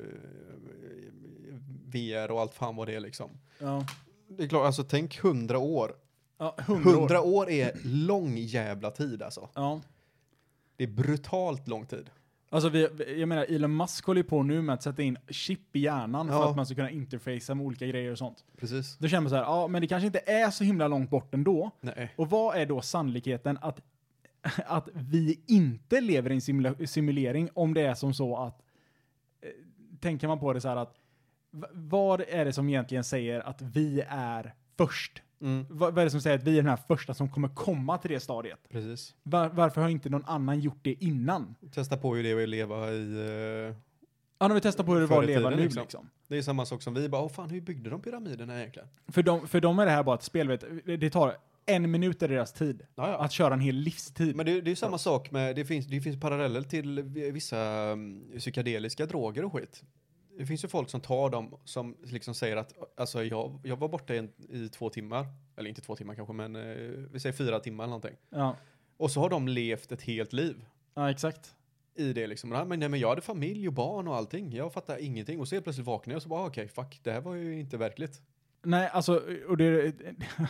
VR och allt fan vad det är liksom. Ja. Det är klart, alltså tänk hundra år. ja 100, Hundra år. år är lång jävla tid alltså. Ja. Det är brutalt lång tid. Alltså vi, vi- jag menar, Elon Musk håller ju på nu med att sätta in chip i hjärnan Ja. för att man ska kunna interfacea med olika grejer och sånt. Precis. Då känner man så här, ja men det kanske inte är så himla långt bort ändå. Nej. Och vad är då sannolikheten att, att vi inte lever i en simula- simulering om det är som så att, eh, tänker man på det så här att, v- vad är det som egentligen säger att vi är först? Mm. Vad, vad är det som säger att vi är den här första som kommer komma till det stadiet? Precis. Var, varför har inte någon annan gjort det innan? Testa på hur det är att leva i... eh, Ja, när vi testar på hur det var Förr att i leva tiden, nu liksom. liksom. det är samma sak som vi bara, åh fan hur byggde de pyramiderna egentligen? För, dem, för dem är det här bara ett spel, vet, du. det tar en minut av deras tid. Ja, ja. Att köra en hel livstid. Men det, det är ju samma sak med, det finns, det finns paralleller till vissa mm, psykedeliska droger och skit. Det finns ju folk som tar dem som liksom säger att alltså jag, jag var borta i, en, i två timmar, eller inte två timmar kanske men eh, vi säger fyra timmar eller någonting. ja. Och så har de levt ett helt liv ja, exakt. i det liksom. Nej, Men, nej, men jag hade familj och barn och allting, jag fattar ingenting. Och så helt plötsligt vaknar jag och så bara ah, okej fuck, det här var ju inte verkligt. Nej, alltså, och det...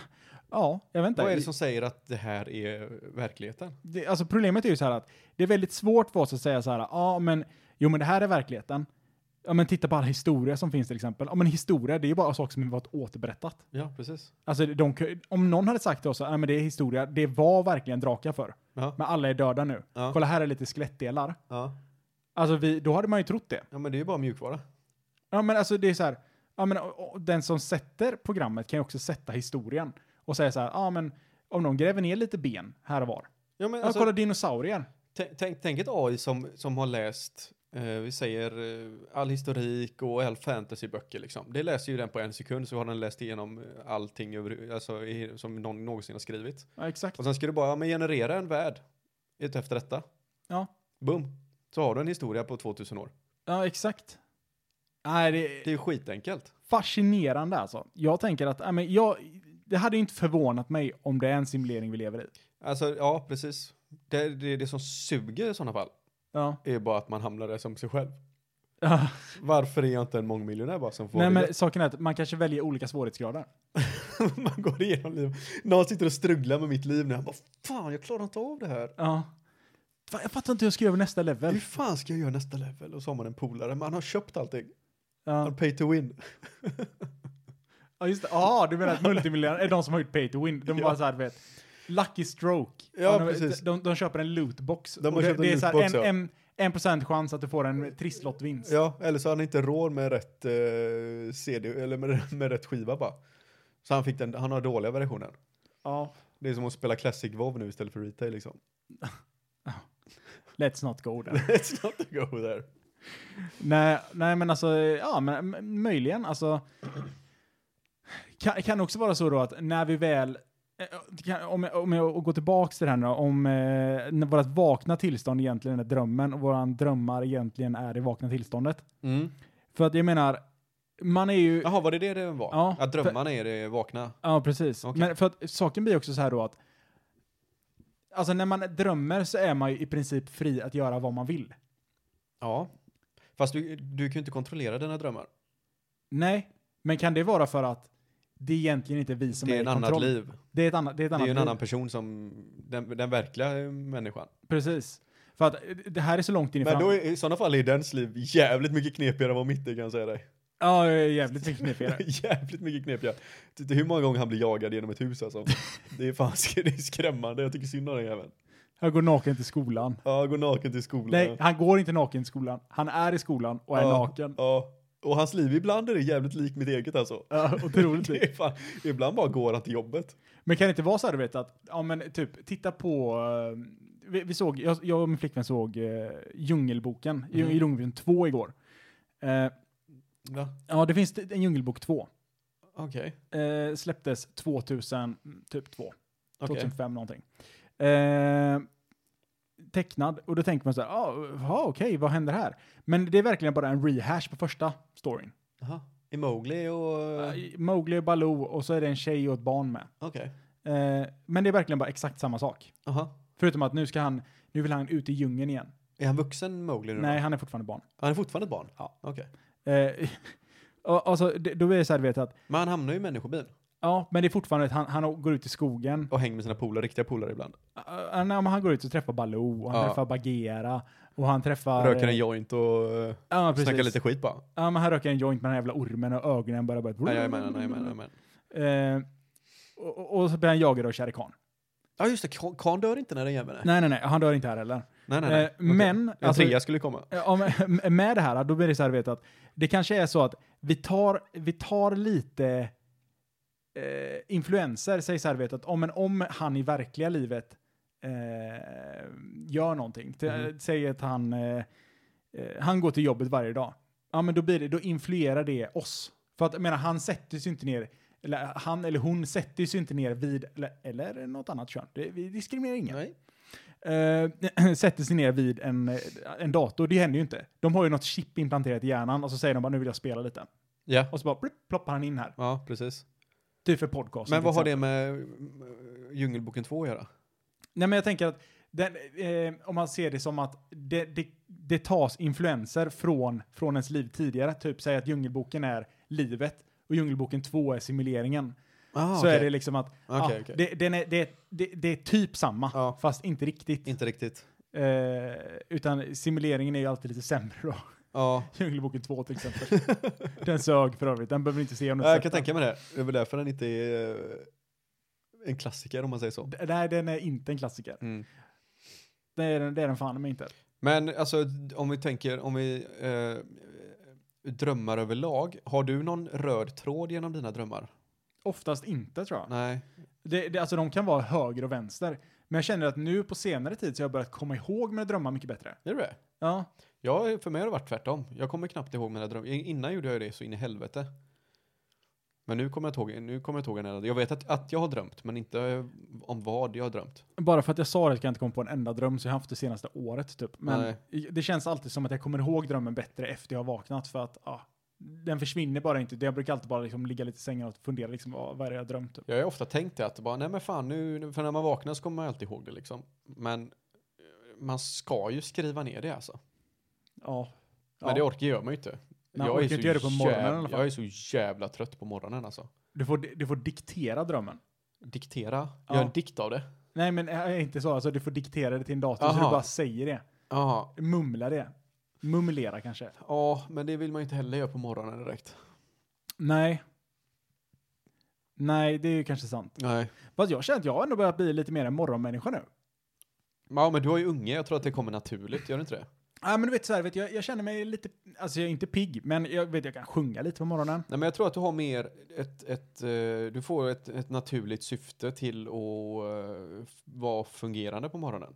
ja, jag vet inte. Vad är det som säger att det här är verkligheten? det, alltså problemet är ju så här att det är väldigt svårt för oss att säga så här, ja men, jo men det här är verkligheten. Ja men titta på all historia som finns till exempel. Ja men historia, det är ju bara saker som varit återberättat. Ja, precis. Alltså de, om någon hade sagt till oss, nej men det är historia, det var verkligen drakar för. Ja. Men alla är döda nu. Ja. Kolla här är lite skelettdelar. Ja. Alltså vi, då hade man ju trott det. ja, men det är ju bara mjukvara. Ja men alltså det är så här, ja men och- och den som sätter programmet kan ju också sätta historien. Och säga så här, ja men om de gräver ner lite ben här och var. Ja, men alltså, Ja, kolla dinosaurier. Tänk- Tänk, tänk ett AI som, som har läst, eh, vi säger eh, all historik och all fantasyböcker liksom. Det läser ju den på en sekund så har den läst igenom eh, allting över, alltså, i, som någon någonsin har skrivit. Ja exakt. Och sen ska du bara, ja, men generera en värld ut efter detta. Ja. Boom. Så har du en historia på 2000 år. Ja, exakt. Nej, det Det är är ju skitenkelt. fascinerande alltså. Jag tänker att, nej, men jag, det hade ju inte förvånat mig om det är en simulering vi lever i. Alltså, ja, precis. Det, det, det som suger i sådana fall Ja. är ju bara att man hamnar där som sig själv. Varför är jag inte en mångmiljonär bara som får nej, det? men saken är att man kanske väljer olika svårighetsgrader. man går igenom liv. Någon sitter och strugglar med mitt liv nu. Han bara, fan jag klarar inte av det här. Ja. Fan, jag fattar inte hur jag ska göra nästa Hur level. fan ska jag göra nästa level? Och så har man en polare, man har köpt allting. Ja, Han pay to win. ja just det. Ja, du menar att multimiljonärer är de som har gjort pay to win. De Ja. bara så här, du vet. Lucky stroke. Ja, de, precis. De, de köper en lootbox. De har Och det, köpt en det är så lootbox, här, ja. en, en, en procent chans att du får en trisslottvinst. Ja, eller så har han inte råd med rätt eh, CD, eller med, med rätt skiva bara. Så han fick den, han har dåliga versionen. Ja. Det är som att spela Classic WoW nu istället för Retail liksom. Let's not go there. Let's not go there. Nej, nej men alltså, ja men m- möjligen alltså. Kan, kan också vara så då att när vi väl, eh, det kan- om jag, om jag går tillbaks till det här nu då, om eh, när vårt vakna tillstånd egentligen är drömmen och våran drömmar egentligen är det vakna tillståndet. Mm. För att jag menar, man är ju, Jaha, var det det det var? Ja, att drömmarna är det vakna? ja precis. Okej. Men för att saken blir också så här då att, alltså när man drömmer så är man ju i princip fri att göra vad man vill. Ja. Fast du, du kan ju inte kontrollera dina drömmar. Nej, men kan det vara för att det är egentligen inte vi som det är är i en annat kontroll? liv. Det är ett annat, det är ett Det är annat ju en liv. annan person som den, den verkliga eh, människan. Precis. För att eh, det här är så långt in i Men då framtiden. är, i sådana fall är dens liv jävligt mycket knepigare än vad mitt är kan jag säga dig. Ja, jag är jävligt mycket knepigare. jävligt mycket knepigare. Titta hur många gånger han blir jagad genom ett hus alltså. Det är fan sk- det är skrämmande, jag tycker synd om den jäveln. Jag går naken till skolan. Ja, går naken till skolan. Nej, han går inte naken till skolan. Han är i skolan och är ja, naken. Ja. Och hans liv ibland är det jävligt likt mitt eget alltså. Ja, typ. otroligt. Det är fan, ibland bara går han till jobbet. Men kan det inte vara så här, du vet att, ja men typ, titta på, eh, vi, vi såg, jag, jag och min flickvän såg uh, Djungelboken, i Mm. Djungelboken 2 igår. Eh, Ja, ja, det finns en Djungelbok 2. okej. Eh, släpptes 2000, typ 2. Okej. 2005 någonting. Eh, tecknad. Och då tänker man så här, ah, ja okej, vad händer här? Men det är verkligen bara en rehash på första storyn. Jaha. I Mowgli och... Uh, Mowgli och Baloo och så är det en tjej och ett barn med. Okej. Eh, men det är verkligen bara exakt samma sak. Jaha. Förutom att nu ska han, nu vill han ut i djungeln igen. Är han vuxen Mowgli nu Nej, Då? han är fortfarande barn. Han är fortfarande ett barn? Ja. Okej. Eh, och, alltså, det, då är det så här, du vet att, Men han hamnar ju i människobilen. ja, men det är fortfarande att han, han går ut i skogen. Och hänger med sina polare, riktiga polare ibland. Uh, nej, men han går ut och träffar Baloo, och han Ja. träffar Bagheera och han träffar... Röker en eh, joint och uh, Ja, snackar precis. lite skit bara. Ja, men han röker en joint med den här jävla ormen och ögonen börjar bara... Nej, jag menar, nej, jag menar, jag menar. Eh, och- och, och så blir han jagad av Shere Khan. Ja just det, Khan- Khan dör inte när den jäveln är. Nej, nej, nej, han dör inte här heller. nej, nej. nej. eh, Okej. men, En alltså- trea skulle komma. Eh, om- Med det här, då blir det så här, vet du, att det kanske är så att vi tar, vi tar lite eh, influenser, säg så här, vet du, att om, men om han i verkliga livet eh, gör någonting, Till- Mhm. säg att han, eh, eh, han går till jobbet varje dag, ja men då, blir det, då influerar det oss. För att jag menar, han sätter sig inte ner, eller han eller hon sätter sig inte ner vid, eller, eller något annat kön, Det- vi diskriminerar ingen Nej. eh, sätter sig ner vid en, eh, en dator. Det händer ju inte. De har ju något chip implanterat i hjärnan och så säger de bara nu vill jag spela lite. Ja. Och så bara plupp, ploppar han in här. Ja, precis. Typ för podcasten. Men vad till har exempel. det med eh, Djungelboken 2 att göra? Nej men jag tänker att den, eh, om man ser det som att det, det, det tas influenser från, från ens liv tidigare. Typ säg att Djungelboken är livet och Djungelboken 2 är simuleringen. Ah, så är det liksom att Okej, ah, okej. Det, den är, det, det, det är typ samma Ja. fast inte riktigt. Inte riktigt. Eh, utan simuleringen är ju alltid lite sämre då. Ja. Djungelboken 2 till exempel. den sög för övrigt, den behöver ni inte se om ni Nej, Jag sett kan den. tänka mig det. Det är väl därför den inte är eh, en klassiker om man säger så. D- Nej, den är inte en klassiker. Mm. Det är den, det är den fan mig inte. Men alltså om vi tänker, om vi eh, drömmar överlag. Har du någon röd tråd genom dina drömmar? Oftast inte tror jag. Nej. Det, det, alltså de kan vara höger och vänster. Men jag känner att nu på senare tid så har jag börjat komma ihåg mina drömmar mycket bättre. Är det det? Ja, Ja, för mig har det varit tvärtom. Jag kommer knappt ihåg mina drömmar. In- Innan gjorde jag ju det så in i helvete. Men nu kommer jag inte ihåg, nu kommer jag inte ihåg en enda. Jag vet att, att jag har drömt, men inte eh, om vad jag har drömt. bara för att jag sa det kan jag inte komma på en enda dröm så jag har haft det senaste året typ. Men det känns alltid som att jag kommer ihåg drömmen bättre efter jag har vaknat för att ja, den försvinner bara inte. Jag brukar alltid bara liksom ligga lite i sängen och fundera liksom vad, vad är det jag drömt? Typ. Jag har ju ofta tänkt det att bara, nej men fan nu, nu- för när man vaknar så kommer man alltid ihåg det liksom. Men eh, man ska ju skriva ner det alltså. Ja. Men Ja. det orkar gör man ju inte. Nej, orkar så inte göra det på morgonen i alla fall. Jag är så jävla trött på morgonen alltså. Du får, du får diktera drömmen. Diktera, Ja. gör en dikt av det. Nej, men eh, inte så. Alltså, du får diktera det till en dator så Aha. du bara säger det. Ja, Mumla det. Mumlera kanske. ja, men det vill man ju inte heller göra på morgonen direkt. Nej. Nej, det är ju kanske sant. Nej. Fast jag känner att jag har ändå börjat bli lite mer en morgonmänniska nu. Ja, men du har ju unge. Jag tror att det kommer naturligt, gör det inte det? Ja, men du vet så här, vet, jag, jag känner mig lite, alltså jag är inte pigg, men jag vet jag kan sjunga lite på morgonen. Nej, men jag tror att du har mer ett, ett eh, du får ett, ett naturligt syfte till att eh, f- vara fungerande på morgonen.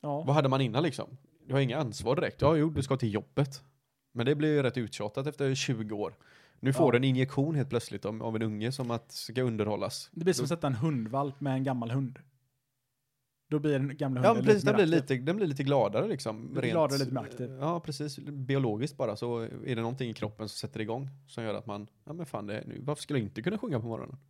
Ja. Vad hade man innan liksom? Du har inga ansvar direkt. Ja, jo, du ska till jobbet. Men det blir ju rätt uttjatat efter 20 år. Nu får Ja. du en injektion helt plötsligt av, av en unge som att ska underhållas. Det blir som att sätta en hundvalp med en gammal hund. Då blir den gamla Ja, men hunden precis. Den mer blir, lite, den blir lite gladare liksom. blir gladare, lite mer aktiv. Ja, precis. Biologiskt bara så är det någonting i kroppen som sätter igång som gör att man, ja men fan det är nu, varför skulle jag inte kunna sjunga på morgonen? aktiv.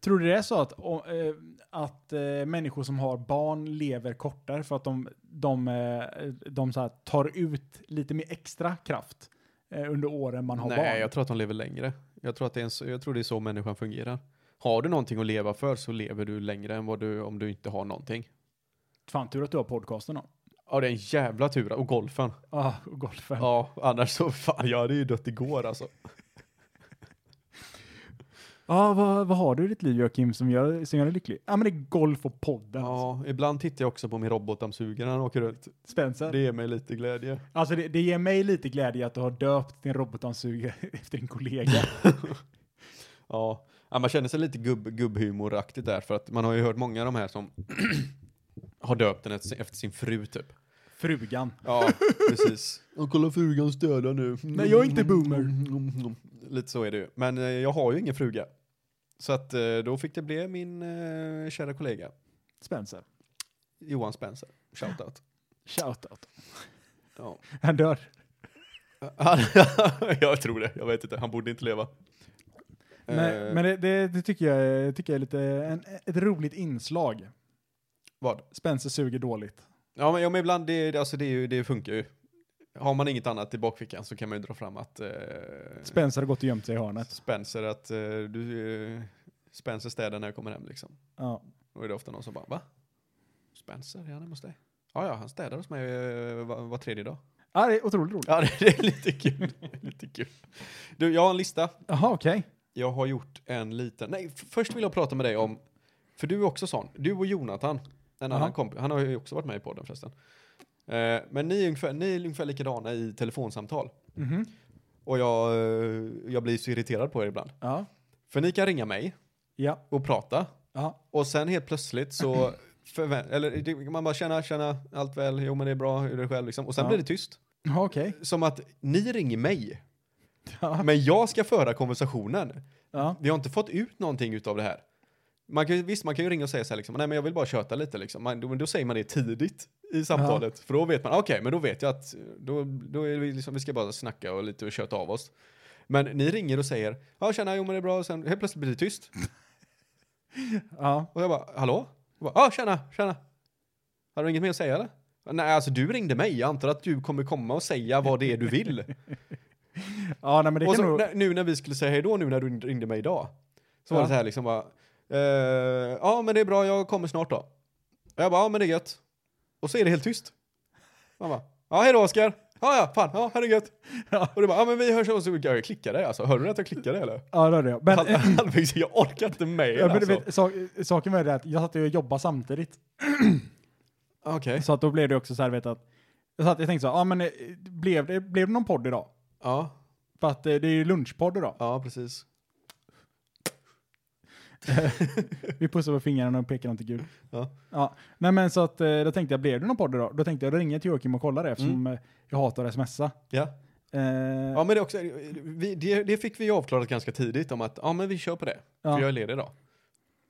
Tror du det är så att, och, eh, att eh, människor som har barn lever kortare för att de, de, eh, de så här tar ut lite mer extra kraft eh, under åren man har Nej, barn? jag tror att de lever längre. Jag tror, att det är en, så- jag tror det är så människan fungerar. Har du någonting att leva för så lever du längre än vad du, om du inte har någonting. Fan tur att du har podcasten då. Ja, det är en jävla tur. Och golfen. Ah, och golfen. Ja, annars så, fan jag hade ju dött igår alltså. Ja, Ah, vad, vad har du i ditt liv Joakim som gör, som gör dig lycklig? Ja, men det är golf och podden. Alltså. Ja, ibland tittar jag också på min robotdammsugare när han åker runt. Spencer. Det ger mig lite glädje. Alltså det, det ger mig lite glädje att du har döpt din robotdammsugare efter din kollega. Ja, ja man känner sig lite gubb, gubbhumoraktigt där för att man har ju hört många av de här som har döpt den efter sin- efter sin fru typ. Frugan. Ja, precis. Och kolla frugans döda nu. Mm, Nej, jag är inte boomer. Lite så är det ju. Men eh, jag har ju ingen fruga. Så att eh, då fick det bli min eh, kära kollega Spencer. Johan Spencer. Shoutout. Shoutout. Ja. Han dör. Han, jag tror det, jag vet inte. Han borde inte leva. Men, Eh, men det, det, det tycker jag, tycker jag är lite en, ett roligt inslag. Vad? Spencer suger dåligt. Ja men, ja, men ibland, det, det- alltså, det, är ju- det funkar ju. Har man inget annat i bakfickan så kan man ju dra fram att eh, Spencer har gått och gömt sig i hörnet. Spencer, att eh, du eh, Spencer städar när jag kommer hem liksom. Ja. Då är det ofta någon som bara va? Spencer, är han hemma hos dig? Ja, ja, han städar hos mig eh, var, var tredje dag. ja, det är otroligt roligt. Ja, det, det är lite kul. lite kul. Du, jag har en lista. Jaha, okej. Jag har gjort en liten, nej, f- först vill jag prata med dig om, för du är också sån, du och Jonathan, en annan Jaha. kompis, han har ju också varit med i podden förresten. Eh, men ni är, ungefär, ni är ungefär likadana i telefonsamtal. Mhm. Och jag, eh, jag blir så irriterad på er ibland. Ja. För ni kan ringa mig Ja. och prata, Ja. och sen helt plötsligt så, förvä- eller det- man bara känna, känna, allt väl, jo men det är bra, hur är det själv liksom. Och sen Ja. blir det tyst. Ja, okej. Som att ni ringer mig, Ja. men jag ska föra konversationen. Ja. Vi har inte fått ut någonting utav det här. Man kan, ju- visst, man kan ju ringa och säga så här liksom, nej men jag vill bara köta lite liksom. Man, då, då säger man det tidigt i samtalet. För då vet man, okej, men då vet jag att då, då är vi liksom, vi ska bara snacka och lite och köta av oss. Men ni ringer och säger, ja tjena, jo men det är bra, och sen helt plötsligt blir det tyst. Ja. Och jag bara, hallå? Jag bara, ja tjena, tjena. Har du inget mer att säga eller? Nej, alltså du ringde mig, jag antar att du kommer komma och säga vad det är du vill. ja, nej men det och kan så, nog... när- nu när vi skulle säga hej då, nu när du ringde mig idag, så var Ja. det så här liksom bara, eh, ja men det är bra, jag kommer snart då. Och jag bara, ja men det är gött. Och så är det helt tyst. Man bara, ja hej då Oskar. Ja ja, fan, ja ha det gött. Ja. Och du bara, ja men vi hörs och så jag klickade alltså, hörde du att jag klickade eller? Ja, det är det. Men, eh, Hal- Halvvägs, jag orkar inte med ja, men du alltså. vet, sak, saken med det är att jag satt ju och jobbade samtidigt. Okej. Så att då blev det också så här, vet att, jag satt, jag tänkte så här, ja men eh, blev det, blev det någon podd idag? Ja, För att eh, det är ju lunchpodd idag. ja precis. Vi pussar på fingrarna och pekar dem till Gud. Ja. ja. Nej men så att eh, då tänkte jag, blev det någon podd idag? Då tänkte jag, då ringer jag till Joakim och kollar det eftersom eh, jag hatar att smsa. Ja. Eh, Mm. Ja, men det, är också, vi, det, det fick vi ju avklarat ganska tidigt om att ja, men vi kör på det. Ja. För jag är ledig idag.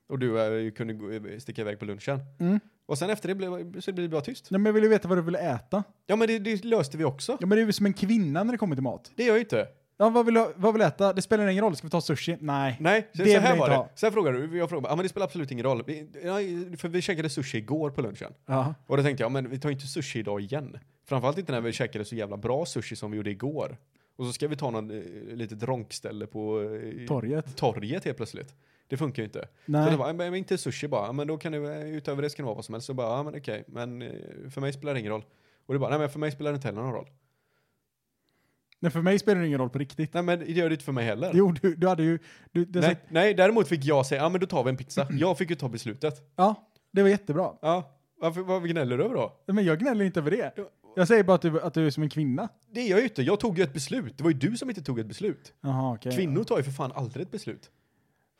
Och du eh, kunde gå, sticka iväg på lunchen. Mm. Och sen efter det blev, så blev det bara tyst. Nej men jag ville veta vad du ville äta. Ja, men det, det löste vi också. Ja men det är ju som en kvinna när det kommer till mat. Det gör jag ju inte. Ja vad vill du, ha- vad vill du äta? Det spelar ingen roll, ska vi ta sushi? Nej. Nej, så, Det så vill jag här var inte det. ha. Sen frågade du, jag frågade, ja men det spelar absolut ingen roll. Vi, ja, för vi käkade sushi igår på lunchen. Ja. Och då tänkte jag, men vi tar inte sushi idag igen. Framförallt inte när vi käkade så jävla bra sushi som vi gjorde igår. Och så ska vi ta någon eh, litet ronkställe på eh, Torget. torget helt plötsligt. Det funkar ju inte. Så Nej. det bara, men inte sushi bara, Ja, men då kan du, utöver det ska det vara vad som helst. Så bara, ja men okej, men eh, för mig spelar det ingen roll. Och det bara, nej men för mig spelar det inte heller någon roll. Nej för mig spelar det ingen roll på riktigt. Nej men det gör det inte för mig heller. Jo du, du hade ju... Du, du, nej, nej, däremot fick jag säga, ja men då tar vi en pizza. Jag fick ju ta beslutet. Ja, det var jättebra. Ja, varför, vad gnäller du över då? Nej, Men jag gnäller inte över det. Ja. Jag säger bara att du, att du är som en kvinna. Det gör jag ju inte, jag tog ju ett beslut. Det var ju du som inte tog ett beslut. Jaha, okej. Kvinnor tar ju för fan aldrig ett beslut.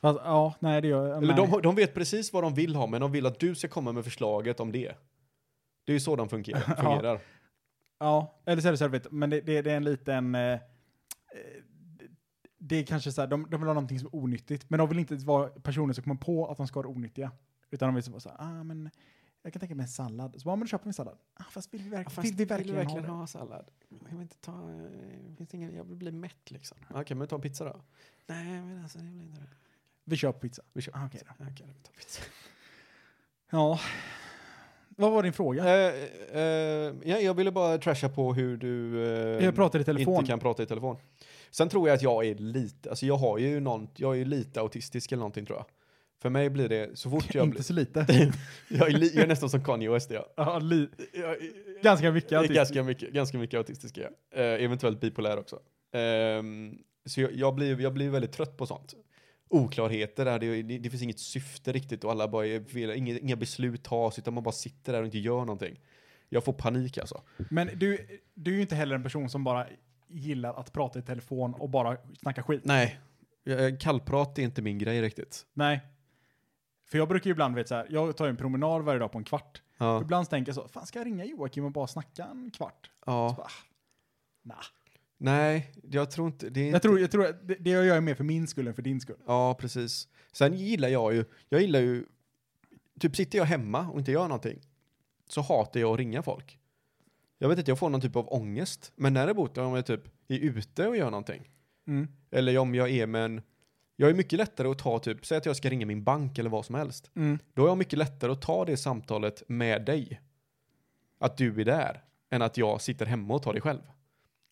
Fast, ja, nej det gör jag. Eller nej. de, har- de vet precis vad de vill ha, men de vill att du ska komma med förslaget om det. Det är ju så de fungerar. fungerar. Ja, eller så är det servigt, men det, det, det är en liten... Eh, eh, det- det är kanske så här, de, de vill ha någonting som är onyttigt, men de vill inte vara personer som kommer på att de ska vara onyttiga. Utan de vill så bara så här, ah men jag kan tänka mig en sallad. Så bara, ah, men då köper vi en sallad. Ah, fast vill vi, verk- vill vi verkligen, ha det? sallad? Jag vill inte ta... Finns ingen, jag vill bli mätt liksom. Okej, men ta en pizza då. Nej, men alltså jag blir inte det. Vi köper pizza. Vi kör. Ah, okej då. Okej, vi tar pizza. Ja. Vad var din fråga? Eh, ja, jag ville bara trasha på hur du eh, Jag pratar i telefon. inte kan prata i telefon. Sen tror jag att jag är lite, alltså jag har ju någon, jag är lite autistisk eller någonting tror jag. För mig blir det, så fort jag inte blir, så lite. jag är, li, jag är nästan som Kanye West är jag. ja, li- jag ganska mycket. jag är autistisk. ganska mycket, ganska mycket autistisk är jag. Eh, eventuellt bipolär också. Ehm, så jag, jag, blir, jag blir väldigt trött på sånt. Oklarheter, där, det, det, det finns inget syfte riktigt och alla bara är fel, inga, inga beslut tas utan man bara sitter där och inte gör någonting. Jag får panik alltså. Men du, du är ju inte heller en person som bara gillar att prata i telefon och bara snacka skit. Nej, jag- jag- kallprat är inte min grej riktigt. Nej. För jag brukar ju ibland, vet så här, jag tar ju en promenad varje dag på en kvart. Ja, Ibland tänker jag så, fan ska jag ringa Joakim och bara snacka en kvart? ja. Nah. Nej, jag tror inte... Det är Jag tror, jag tror att det, det jag gör är mer för min skull än för din skull. Ja, precis. Sen gillar jag ju, jag gillar ju, typ sitter jag hemma och inte gör någonting så hatar jag att ringa folk. Jag vet inte, jag får någon typ av ångest. Men däremot om jag typ är ute och gör någonting. Mm. Eller om jag är med en, jag är mycket lättare att ta typ, säg att jag ska ringa min bank eller vad som helst. Mm. Då är jag mycket lättare att ta det samtalet med dig. Att du är där. Än att jag sitter hemma och tar det själv.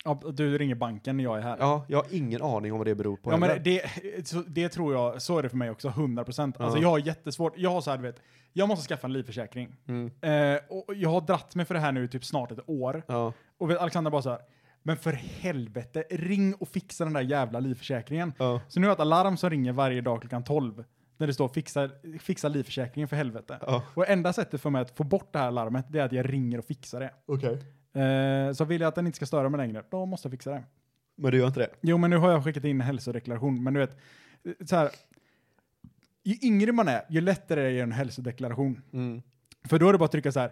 Ja, du ringer banken när jag är här. Ja, jag har ingen aning om vad det beror på. Ja, men heller. det, så, det tror jag, så är det för mig också, 100%. Alltså Ja. jag har jättesvårt, jag har så här, du vet, jag måste skaffa en livförsäkring. Mm. Eh, och jag har dratt mig för det här nu i typ snart ett år. Ja. Och vet, Alexandra bara så här, men för helvete, ring och fixa den där jävla livförsäkringen. Ja. Så nu har jag ett alarm som ringer varje dag klockan 12. När det står fixa, fixa livförsäkringen för helvete. Ja. Och enda sättet för mig att få bort det här larmet det är att jag ringer och fixar det. Okej. Eh, så vill jag att den inte ska störa mig längre, då måste jag fixa det. Men du gör inte det? Jo, men nu har jag skickat in en hälsodeklaration, men du vet, eh, så här, ju yngre man är, ju lättare är det att göra en hälsodeklaration. Mm. För då är det bara att trycka så här,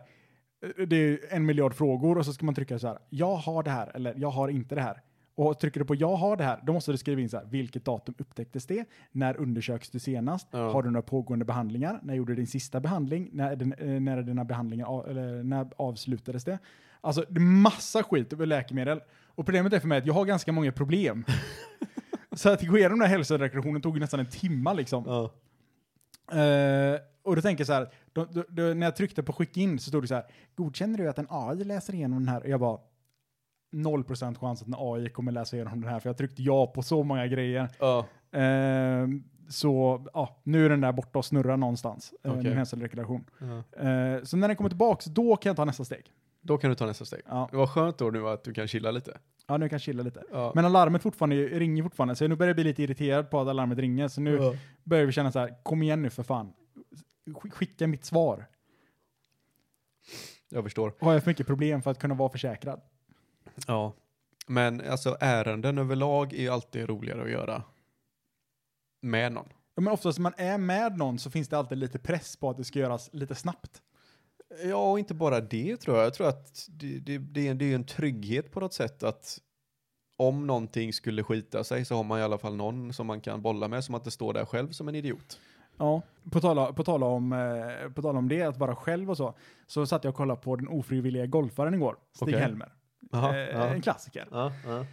eh, det är en miljard frågor och så ska man trycka så här, jag har det här eller jag har inte det här. Och trycker du på jag har det här, då måste du skriva in så här, vilket datum upptäcktes det? När undersöks du senast? Ja. Har du några pågående behandlingar? När gjorde du din sista behandling? När, är den, eh, när är dina behandlingar, av, eller när avslutades det? Alltså, det är massa skit över läkemedel. Och problemet är för mig att jag har ganska många problem. så att gå igenom den här hälsodeklarationen tog ju nästan en timma liksom. Ja. Eh, och då tänker jag så här, då, då, då, när jag tryckte på skicka in så stod det så här, godkänner du att en AI läser igenom den här? Och jag bara, 0% chans att en AI kommer läsa igenom den här, för jag tryckte ja på så många grejer. Ja. Eh, så ja, nu är den där borta och snurrar någonstans, eh, Okej. min hälsodeklaration. Eh, så när den kommer tillbaka, då kan jag ta nästa steg. Då kan du ta nästa steg. Ja, Det var skönt då nu att du kan chilla lite. ja nu kan jag chilla lite. Ja. Men alarmet fortfarande, ringer fortfarande, så nu börjar jag bli lite irriterad på att alarmet ringer, så nu börjar vi känna så här, kom igen nu för fan. Sk- Skicka mitt svar. Jag förstår. har jag för mycket problem för att kunna vara försäkrad. Ja. Men alltså ärenden överlag är ju alltid roligare att göra med någon. Ja, Men oftast när man är med någon så finns det alltid lite press på att det ska göras lite snabbt. Ja, och inte bara det tror jag. Jag tror att det, det, det, är, det är en trygghet på något sätt att om någonting skulle skita sig så har man i alla fall någon som man kan bolla med som att det står där själv som en idiot. Ja. På tala, på tala, om, eh, på tala om det, att vara själv och så, så satt jag och kollade på den ofrivilliga golfaren igår, Stig Okej. Helmer. Aha, eh, ja. En klassiker. Ja, ja.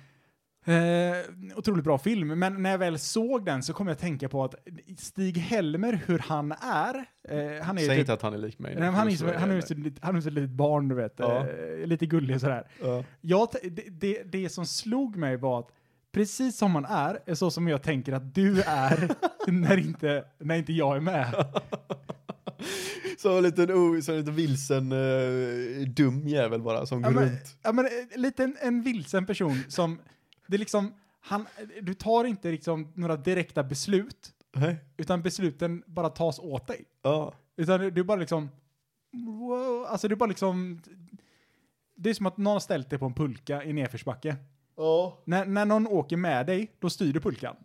Eh, otroligt bra film, men när jag väl såg den så kom jag att tänka på att Stig Helmer, hur han är, eh, han är ju Säg typ- inte att han är lik mig. Nej, men han är ju som- han är ju som ett litet- han är ju som ett litet barn, du vet. Ja. Eh, lite gullig sådär. Ja. Jag, t- det, det, det som slog mig var att precis som man är, är så som jag tänker att du är när, inte, när inte jag är med. Som en liten, o- som en liten vilsen, eh, dum jävel bara som Ja, går men, runt. ja, men, eh, lite en, en vilsen person som, det är liksom, han, du tar inte liksom några direkta beslut, Nej. utan besluten bara tas åt dig. Ja. Utan du, du bara liksom, wow, alltså du bara liksom, det är som att någon har ställt dig på en pulka i nedförsbacke. Ja. När, när någon åker med dig, då styr du pulkan.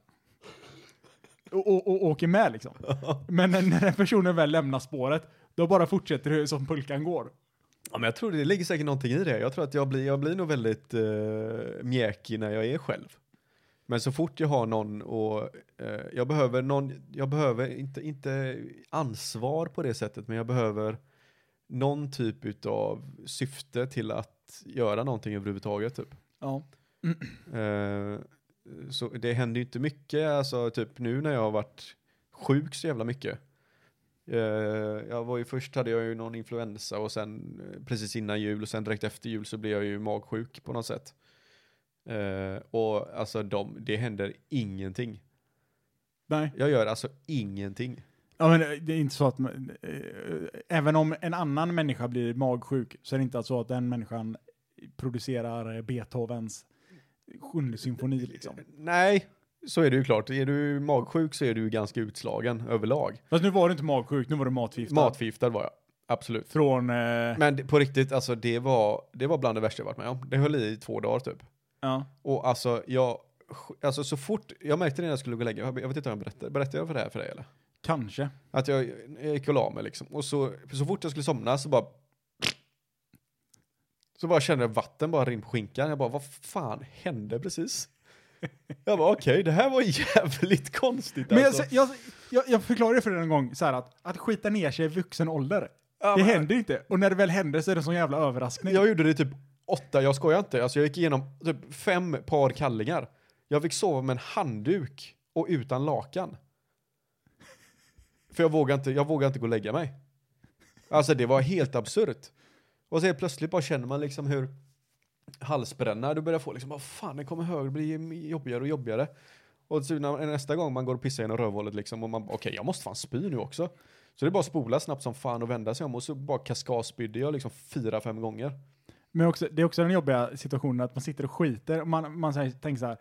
Och, och, och åker med liksom. Men när, när den personen väl lämnar spåret, då bara fortsätter du som pulkan går. Ja, men jag tror det ligger säkert någonting i det. Jag tror att jag blir, jag blir nog väldigt eh, mjäkig när jag är själv. Men så fort jag har någon och eh, jag behöver någon, jag behöver inte, inte ansvar på det sättet, men jag behöver någon typ utav syfte till att göra någonting överhuvudtaget typ. Ja. Eh, så det händer ju inte mycket, alltså typ nu när jag har varit sjuk så jävla mycket. Eh, jag var ju först hade jag ju någon influensa och sen eh, precis innan jul och sen direkt efter jul så blev jag ju magsjuk på något sätt. Eh, och alltså de, det händer ingenting. Nej. Jag gör alltså ingenting. Ja, men eh, det är inte så att... man- eh, Även om en annan människa blir magsjuk så är det inte så att den människan producerar eh, Beethovens sjunde symfoni liksom. Nej, så är det ju klart. Är du magsjuk så är du ju ganska utslagen överlag. Fast nu var du inte magsjuk, nu var du matförgiftad. Matförgiftad var jag, absolut. Från... Eh, Men det- på riktigt, alltså det var, det var bland det värsta jag varit med om. Det höll i två dagar typ. ja. Och alltså, jag, alltså så fort, jag märkte det när jag skulle gå och lägga mig. jag vet inte om jag berättade, berättade jag för det här för dig eller? Kanske. Att jag, jag gick och la mig liksom. Och så, så fort jag skulle somna så bara... Så bara kände jag vatten bara rinna på skinkan. Jag bara, vad fan hände precis? Jag bara, okej, det här var jävligt konstigt Men jag, alltså. jag, jag, jag förklarade för dig en gång så här att, att skita ner sig i vuxen ålder, Ja, det men- händer inte. Och när det väl händer så är det en sån jävla överraskning. Jag gjorde det i typ åtta, jag skojar inte. Alltså jag gick igenom typ fem par kallingar. Jag fick sova med en handduk och utan lakan. För jag vågade inte, jag vågade inte gå och lägga mig. Alltså det var helt absurt. Och så helt plötsligt bara känner man liksom hur halsbränna du börjar få liksom, vad fan det kommer högre, det blir jobbigare och jobbigare. Och så när, nästa gång man går och pissar genom rövhålet liksom och man bara, okej jag måste fan spy nu också. Så det är bara att spola snabbt som fan och vända sig om och så bara kaskadspydde jag liksom fyra, fem gånger. Men också, det är också den jobbiga situationen att man sitter och skiter och man, man så här, tänker så här,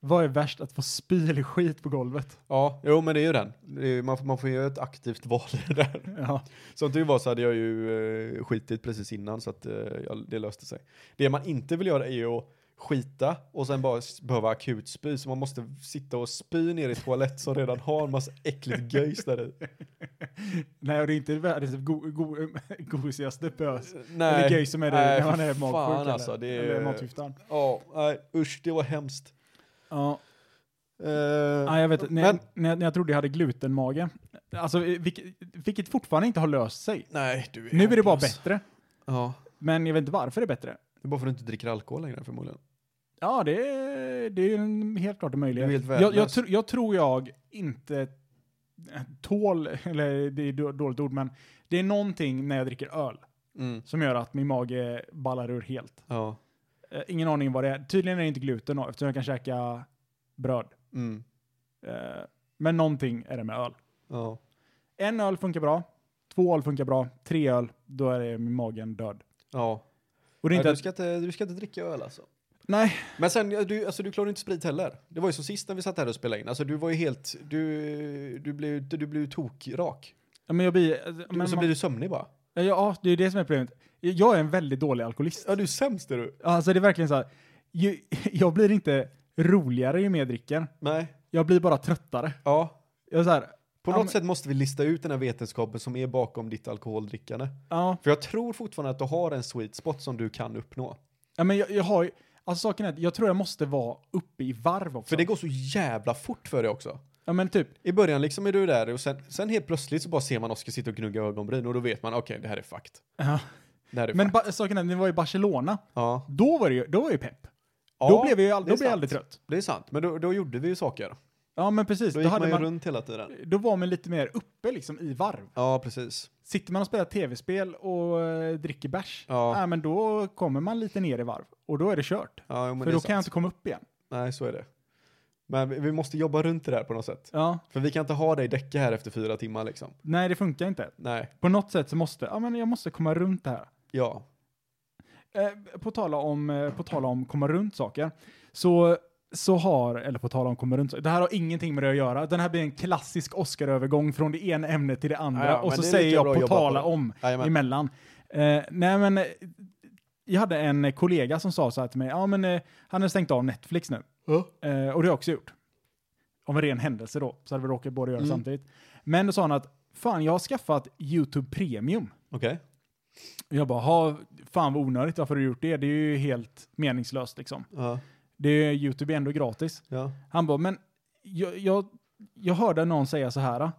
vad är värst att få spy eller skit på golvet? Ja, jo men det är ju den. Det är, man, får- man får göra ett aktivt val i det där. Ja. Som tur var så hade jag ju eh, skitit precis innan så att eh, jag, det löste sig. Det man inte vill göra är ju att skita och sen bara s- behöva akutspy så man måste sitta och spy ner i toalett som redan har en massa äckligt göjs där i. Nej, och det är inte världens go, go, gosigaste pös. Nej, Eller gay som är det nej, när man för är magsjuk fan eller, alltså. Det eller är, matförgiftad. ja, nej, usch det var hemskt. Ja. Eh, Ja, jag vet, när, men, jag- när, jag- när jag trodde jag hade glutenmage, alltså, eh, vilket, vilket fortfarande inte har löst sig. nej, du är Nu är det bara hopplös. bättre, Ja, men jag vet inte varför det är bättre. det är bara för att du inte dricker alkohol längre förmodligen. Ja, det är, det är ju en helt klart en möjlighet. Du är helt jag, jag, värdelös. tr- jag tror jag inte eh, tål, eller det är då- dåligt ord, men det är någonting när jag dricker öl Mm, som gör att min mage ballar ur helt. ja, Eh, ingen aning vad det är. Tydligen är det inte gluten då, eftersom jag kan käka bröd. mm, Eh, men någonting är det med öl. ja. En öl funkar bra, två öl funkar bra, tre öl, då är det min magen död. Ja. Och det är inte Nej, du, att, ska inte, du ska inte dricka öl alltså. nej, Men sen, ja, du, alltså, du klarar inte sprit heller. Det var ju som sist när vi satt här och spelade in. Alltså du var ju helt, du, du blev ju du blev ju tokrak. ja, men jag blir... eh, Du, Men man, så blir du sömnig bara. ja, ja, det är det som är problemet. Jag är en väldigt dålig alkoholist. Ja, du är sämst är du. Alltså det är verkligen så här. Ju, jag blir inte roligare ju mer jag dricker. Nej. Jag blir bara tröttare. Ja. Jag är så här, På Ja, något men- sätt måste vi lista ut den här vetenskapen som är bakom ditt alkoholdrickande. ja, För jag tror fortfarande att du har en sweet spot som du kan uppnå. ja men jag, jag har ju, alltså saken är att jag tror jag måste vara uppe i varv också. För det går så jävla fort för dig också. Ja men typ, I början liksom är du där och sen, sen helt plötsligt så bara ser man Oskar sitta och gnugga ögonbryn och då vet man okej, det här är fakt. ja. Det här är men fakt. ba, saken är att när vi var i Barcelona, Ja. då var det ju, då var jag ju pepp. Ja, då blev jag ju all, det är då blev jag aldrig sant. trött. Det är sant, men då, då gjorde vi ju saker. Ja men precis, Då då, gick man hade ju man, runt hela tiden. då var man lite mer uppe liksom i varv. Ja, precis. Sitter man och spelar tv-spel och eh, dricker bärs, Ja. ja. men då kommer man lite ner i varv. Och då är det kört. Ja, jo, men För det då är kan sant. jag inte komma upp igen. Nej, så är det. Men vi, vi måste jobba runt det där på något sätt. Ja. För vi kan inte ha dig däcka här efter fyra timmar liksom. Nej, det funkar inte. Nej, På något sätt så måste, ja men jag måste komma runt det här. ja. Eh, på, tala om, eh, på tala om komma runt saker, så, så har, eller på tala om komma runt saker, det här har ingenting med det att göra. Den här blir en klassisk Oscar-övergång från det ena ämnet till det andra Ja, ja, och men så det är säger lika bra jag att på jobba på tala det. om Jajamän. emellan. Eh, nej men, eh, jag hade en kollega som sa så här till mig, ja men eh, han har stängt av Netflix nu. Eh, och det har jag också gjort. Av en ren händelse då, så hade vi råkat båda göra det Mm. samtidigt. Men då sa han att, fan jag har skaffat YouTube Premium. Okej. Jag bara, ha, fan vad onödigt, varför har du gjort det? Det är ju helt meningslöst liksom. Ja. Det är, Youtube är ändå gratis. ja. Han bara, men jag, jag, jag hörde någon säga så här.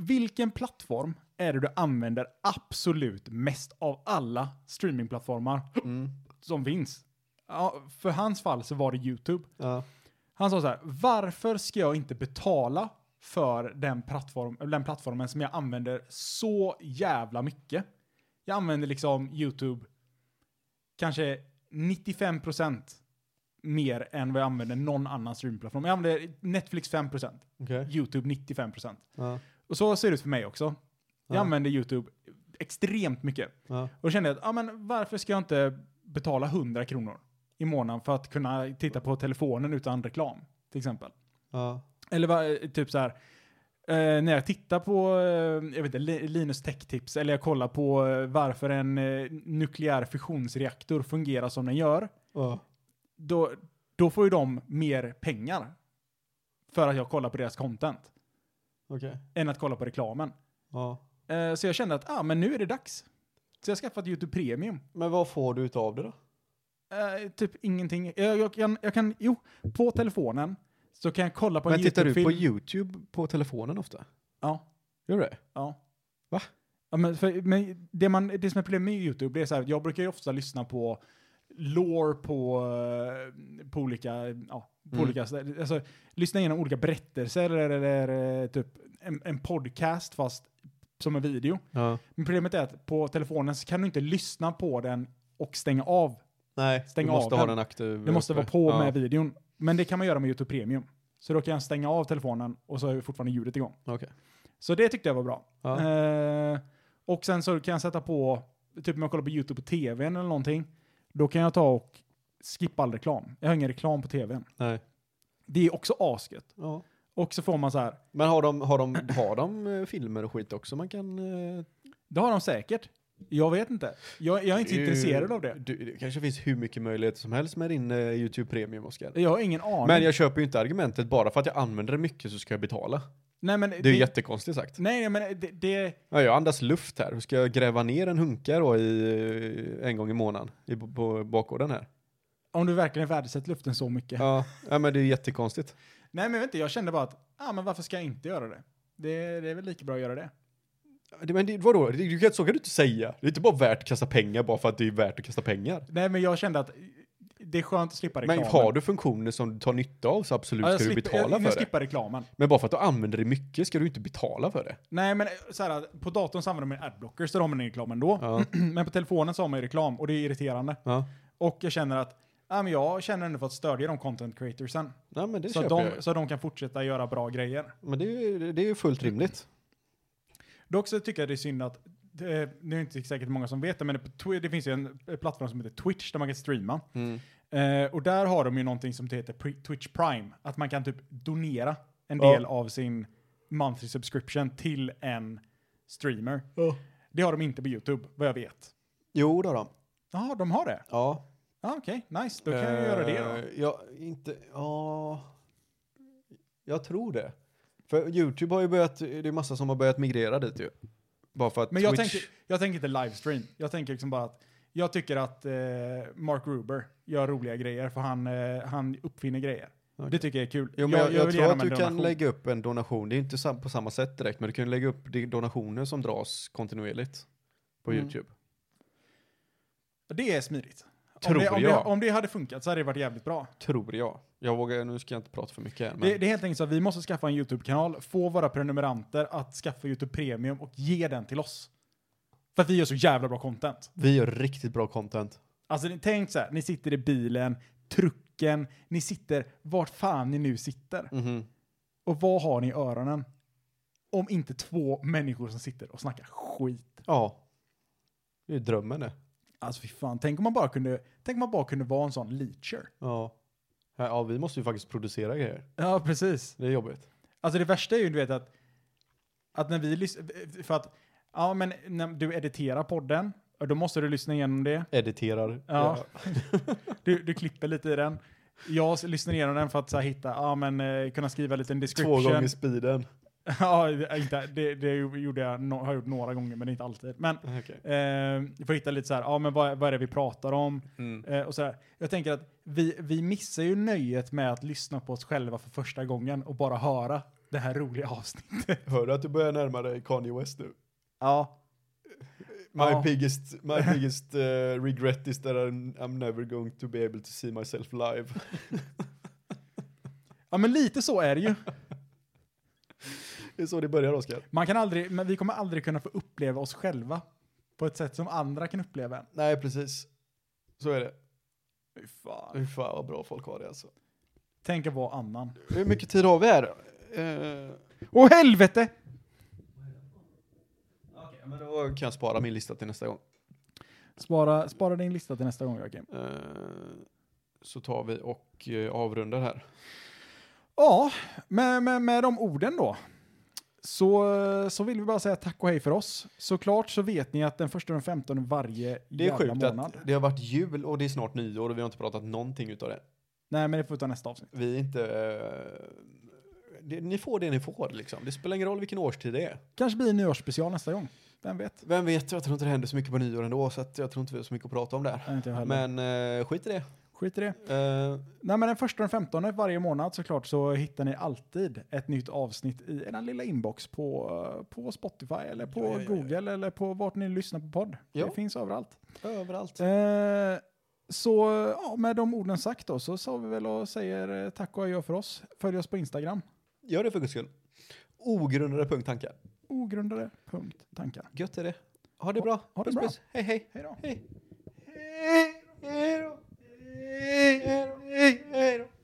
Vilken plattform är det du använder absolut mest av alla streamingplattformar Mm. som finns? Ja, för hans fall så var det YouTube. ja. Han sa så här, varför ska jag inte betala för den, plattform, eller den plattformen som jag använder så jävla mycket? Jag använder liksom YouTube kanske 95% mer än vad jag använder någon annan streamingplattform. Jag använder Netflix 5%, Okej. YouTube 95%. Ja. Och så ser det ut för mig också. Jag Ja. använder YouTube extremt mycket. Ja. Och då kände jag att, ja men varför ska jag inte betala 100 kronor i månaden för att kunna titta på telefonen utan reklam, till exempel. Ja. Eller va- typ så här, eh, när jag tittar på, eh, jag vet inte, Li- Linus Tech-tips, eller jag kollar på eh, varför en eh, nukleär fusionsreaktor fungerar som den gör, Ja. då, då får ju de mer pengar för att jag kollar på deras content, Okej. än att kolla på reklamen. Ja. Eh, så jag kände att, ah, men nu är det dags. Så jag har skaffat YouTube Premium. Men vad får du utav det då? Eh, typ ingenting. Jag, jag, kan, jag kan, jo, på telefonen så kan jag kolla på Men en tittar du på YouTube-film. YouTube på telefonen ofta? Ja, Gör du det? ja. Va? Ja, men för, men det, man, det som är problemet med YouTube, det är så här, jag brukar ju ofta lyssna på lore på, eh, på olika, ja, på Mm. olika ställen. Alltså, lyssna igenom olika berättelser eller, eller eh, typ en, en podcast fast som en video. Ja. Men problemet är att på telefonen så kan du inte lyssna på den och stänga av Nej, Stäng du måste av ha den. den aktiv. Det måste uppe. vara på ja. med videon. Men det kan man göra med YouTube Premium. Så då kan jag stänga av telefonen och så är fortfarande ljudet igång. Okej. Så det tyckte jag var bra. Ja. Eh, och sen så kan jag sätta på, typ om jag kollar på YouTube på TVn eller någonting, då kan jag ta och skippa all reklam. Jag har ingen reklam på TVn. Nej. Det är också asket. Ja. Och så får man så här, Men har de, har, de, har de eh, filmer och skit också man kan... eh, det har de säkert. Jag vet inte. Jag, jag är inte du- intresserad av det. Du, det kanske finns hur mycket möjligheter som helst med din eh, YouTube Premium, Oskar. Jag har ingen aning. Men jag köper ju inte argumentet bara för att jag använder det mycket så ska jag betala. nej, men Det är ju jättekonstigt sagt. Nej, nej, men det, det, Ja, jag andas luft här. Hur ska jag gräva ner en hunka då i, eh, en gång i månaden i, på bakgården här? om du verkligen värdesätter luften så mycket. Ja, ja men det är ju jättekonstigt. Nej men jag vet inte, jag kände bara att, ja ah, men varför ska jag inte göra det? det? Det är väl lika bra att göra det. Det, men det, vadå? Det, du kan, så kan du inte säga. Det är inte bara värt att kasta pengar bara för att det är värt att kasta pengar. Nej men jag kände att eh, det är skönt att slippa reklamen. Men har du funktioner som du tar nytta av så absolut ja, jag ska du slipper- betala jag, jag för det. skippar reklamen. Men bara för att du använder det mycket ska du inte betala för det. Nej men eh, så här, på datorn så använder man adblocker så då har man ingen reklam ändå. Ja, Men på telefonen så har man ju reklam och det är irriterande. ja. Och jag känner att, ja men jag känner ändå för att stödja de content creatorsen. Nej, men det Så att, köper de, jag. så att de kan fortsätta göra bra grejer. Men det är, ju- det är ju fullt rimligt. Dock så tycker jag det är synd att, det, nu är inte säkert många som vet det, men det, på Twi- det finns ju en eh, plattform som heter Twitch där man kan streama. Eh, och där har de ju någonting som heter Pri- Twitch Prime. Att man kan typ donera en Ja. del av sin monthly subscription till en streamer. Det har de inte på YouTube, vad jag vet. Jo, det har de. Ja, de har det? Ja. Ja, Okej, nice. Då kan jag göra det då. Eh, Ja, inte... Ja... Jag tror det. För YouTube har ju börjat... Det är massa som har börjat migrera dit ju. Bara för att Men jag Twitch... tänker, jag tänker inte livestream. Jag tänker liksom bara att jag tycker att eh, Mark Ruber gör roliga grejer för han, eh, han uppfinner grejer. Okej. Det tycker jag är kul. Jo, men jag, jag, vill tror gärna att med du en kan donation. lägga upp en donation. Det är inte sam- på samma sätt direkt, men du kan lägga upp de donationer som dras kontinuerligt på Mm. YouTube. Det är smidigt. om, Tror det, om, jag. Det, om det hade funkat så hade det varit jävligt bra. Tror jag. Jag vågar... Nu ska jag inte prata för mycket här, men... Det, det är helt enkelt så att vi måste skaffa en YouTube-kanal, få våra prenumeranter att skaffa YouTube Premium och ge den till oss. För att vi gör så jävla bra content. Vi gör riktigt bra content. Alltså ni- tänk så här, ni sitter i bilen, trucken, ni sitter vart fan ni nu sitter. Mhm. Och vad har ni i öronen? Om inte två människor som sitter och snackar skit. Ja. Det är drömmen det. Alltså fy fan, tänk om man bara kunde, tänk om man bara kunde vara en sån leacher. Ja. Ja, vi måste ju faktiskt producera grejer. Ja, precis. Det är jobbigt. Alltså det värsta är ju du vet att, att när vi lyssnar, för att, ja men när du editerar podden, då måste du lyssna igenom det. Editerar. Ja. Du, du klipper lite i den. Jag s- lyssnar igenom den för att så här, hitta, ja men eh, kunna skriva lite en Två description. gånger speeden. ja, det- inte, det, det gjorde jag, no, har jag gjort några gånger, men inte alltid. Men Okej. eh, vi får hitta lite så här, ja men vad, vad är det vi pratar om? Mm. Eh, och så här. Jag tänker att vi, vi missar ju nöjet med att lyssna på oss själva för första gången och bara höra det här roliga avsnittet. Hör du att du börjar närma dig Kanye West nu? Ja. My Ja. biggest, my biggest eh, regret is that I'm, I'm never going to be able to see myself live. Ja men lite så är det ju. Det är så det börjar Oskar. Man kan aldrig, men vi kommer aldrig kunna få uppleva oss själva på ett sätt som andra kan uppleva en. Nej, precis. Så är det. Fy fan. Fy fan vad bra folk har det alltså. Tänk att vara annan. Hur mycket tid har vi här? Eh, Åh helvete! Okej, men då kan jag spara min lista till nästa gång. Spara, spara din lista till nästa gång Joakim. Eh, så tar vi och eh, avrundar här. Ja, med, med, med de orden då. Så, så vill vi bara säga tack och hej för oss. Såklart så vet ni att den första och den 15 varje Det är jävla sjukt månad. att det har varit jul och det är snart nyår och vi har inte pratat någonting utav det. Nej men det får vi ta nästa avsnitt. Vi är inte... eh, det, ni får det ni får liksom. Det spelar ingen roll vilken årstid det är. Kanske blir en nyårsspecial nästa gång. Vem vet? Vem vet, jag tror inte det händer så mycket på nyår ändå så att jag tror inte vi har så mycket att prata om där. Nej, inte jag heller. Men eh, skit i det. Skit i det. Eh, Nej men den första och den 15 varje månad såklart så hittar ni alltid ett nytt avsnitt i er lilla inbox på, eh, på Spotify eller på Ja, ja, ja, ja. Google eller på vart ni lyssnar på podd. Ja. Det finns överallt. överallt. Eh, så ja, med de orden sagt då så sa vi väl och säger eh, tack och adjö för oss. Följ oss på Instagram. Gör det för guds skull. Ogrundade punkttankar. Ogrundade punkt tankar. Gött är det. Ha det bra. ha det Puss, bra. puss. Hej, hej. Hej då. Hej. Hej då. Hej då. Hej då. Hej då.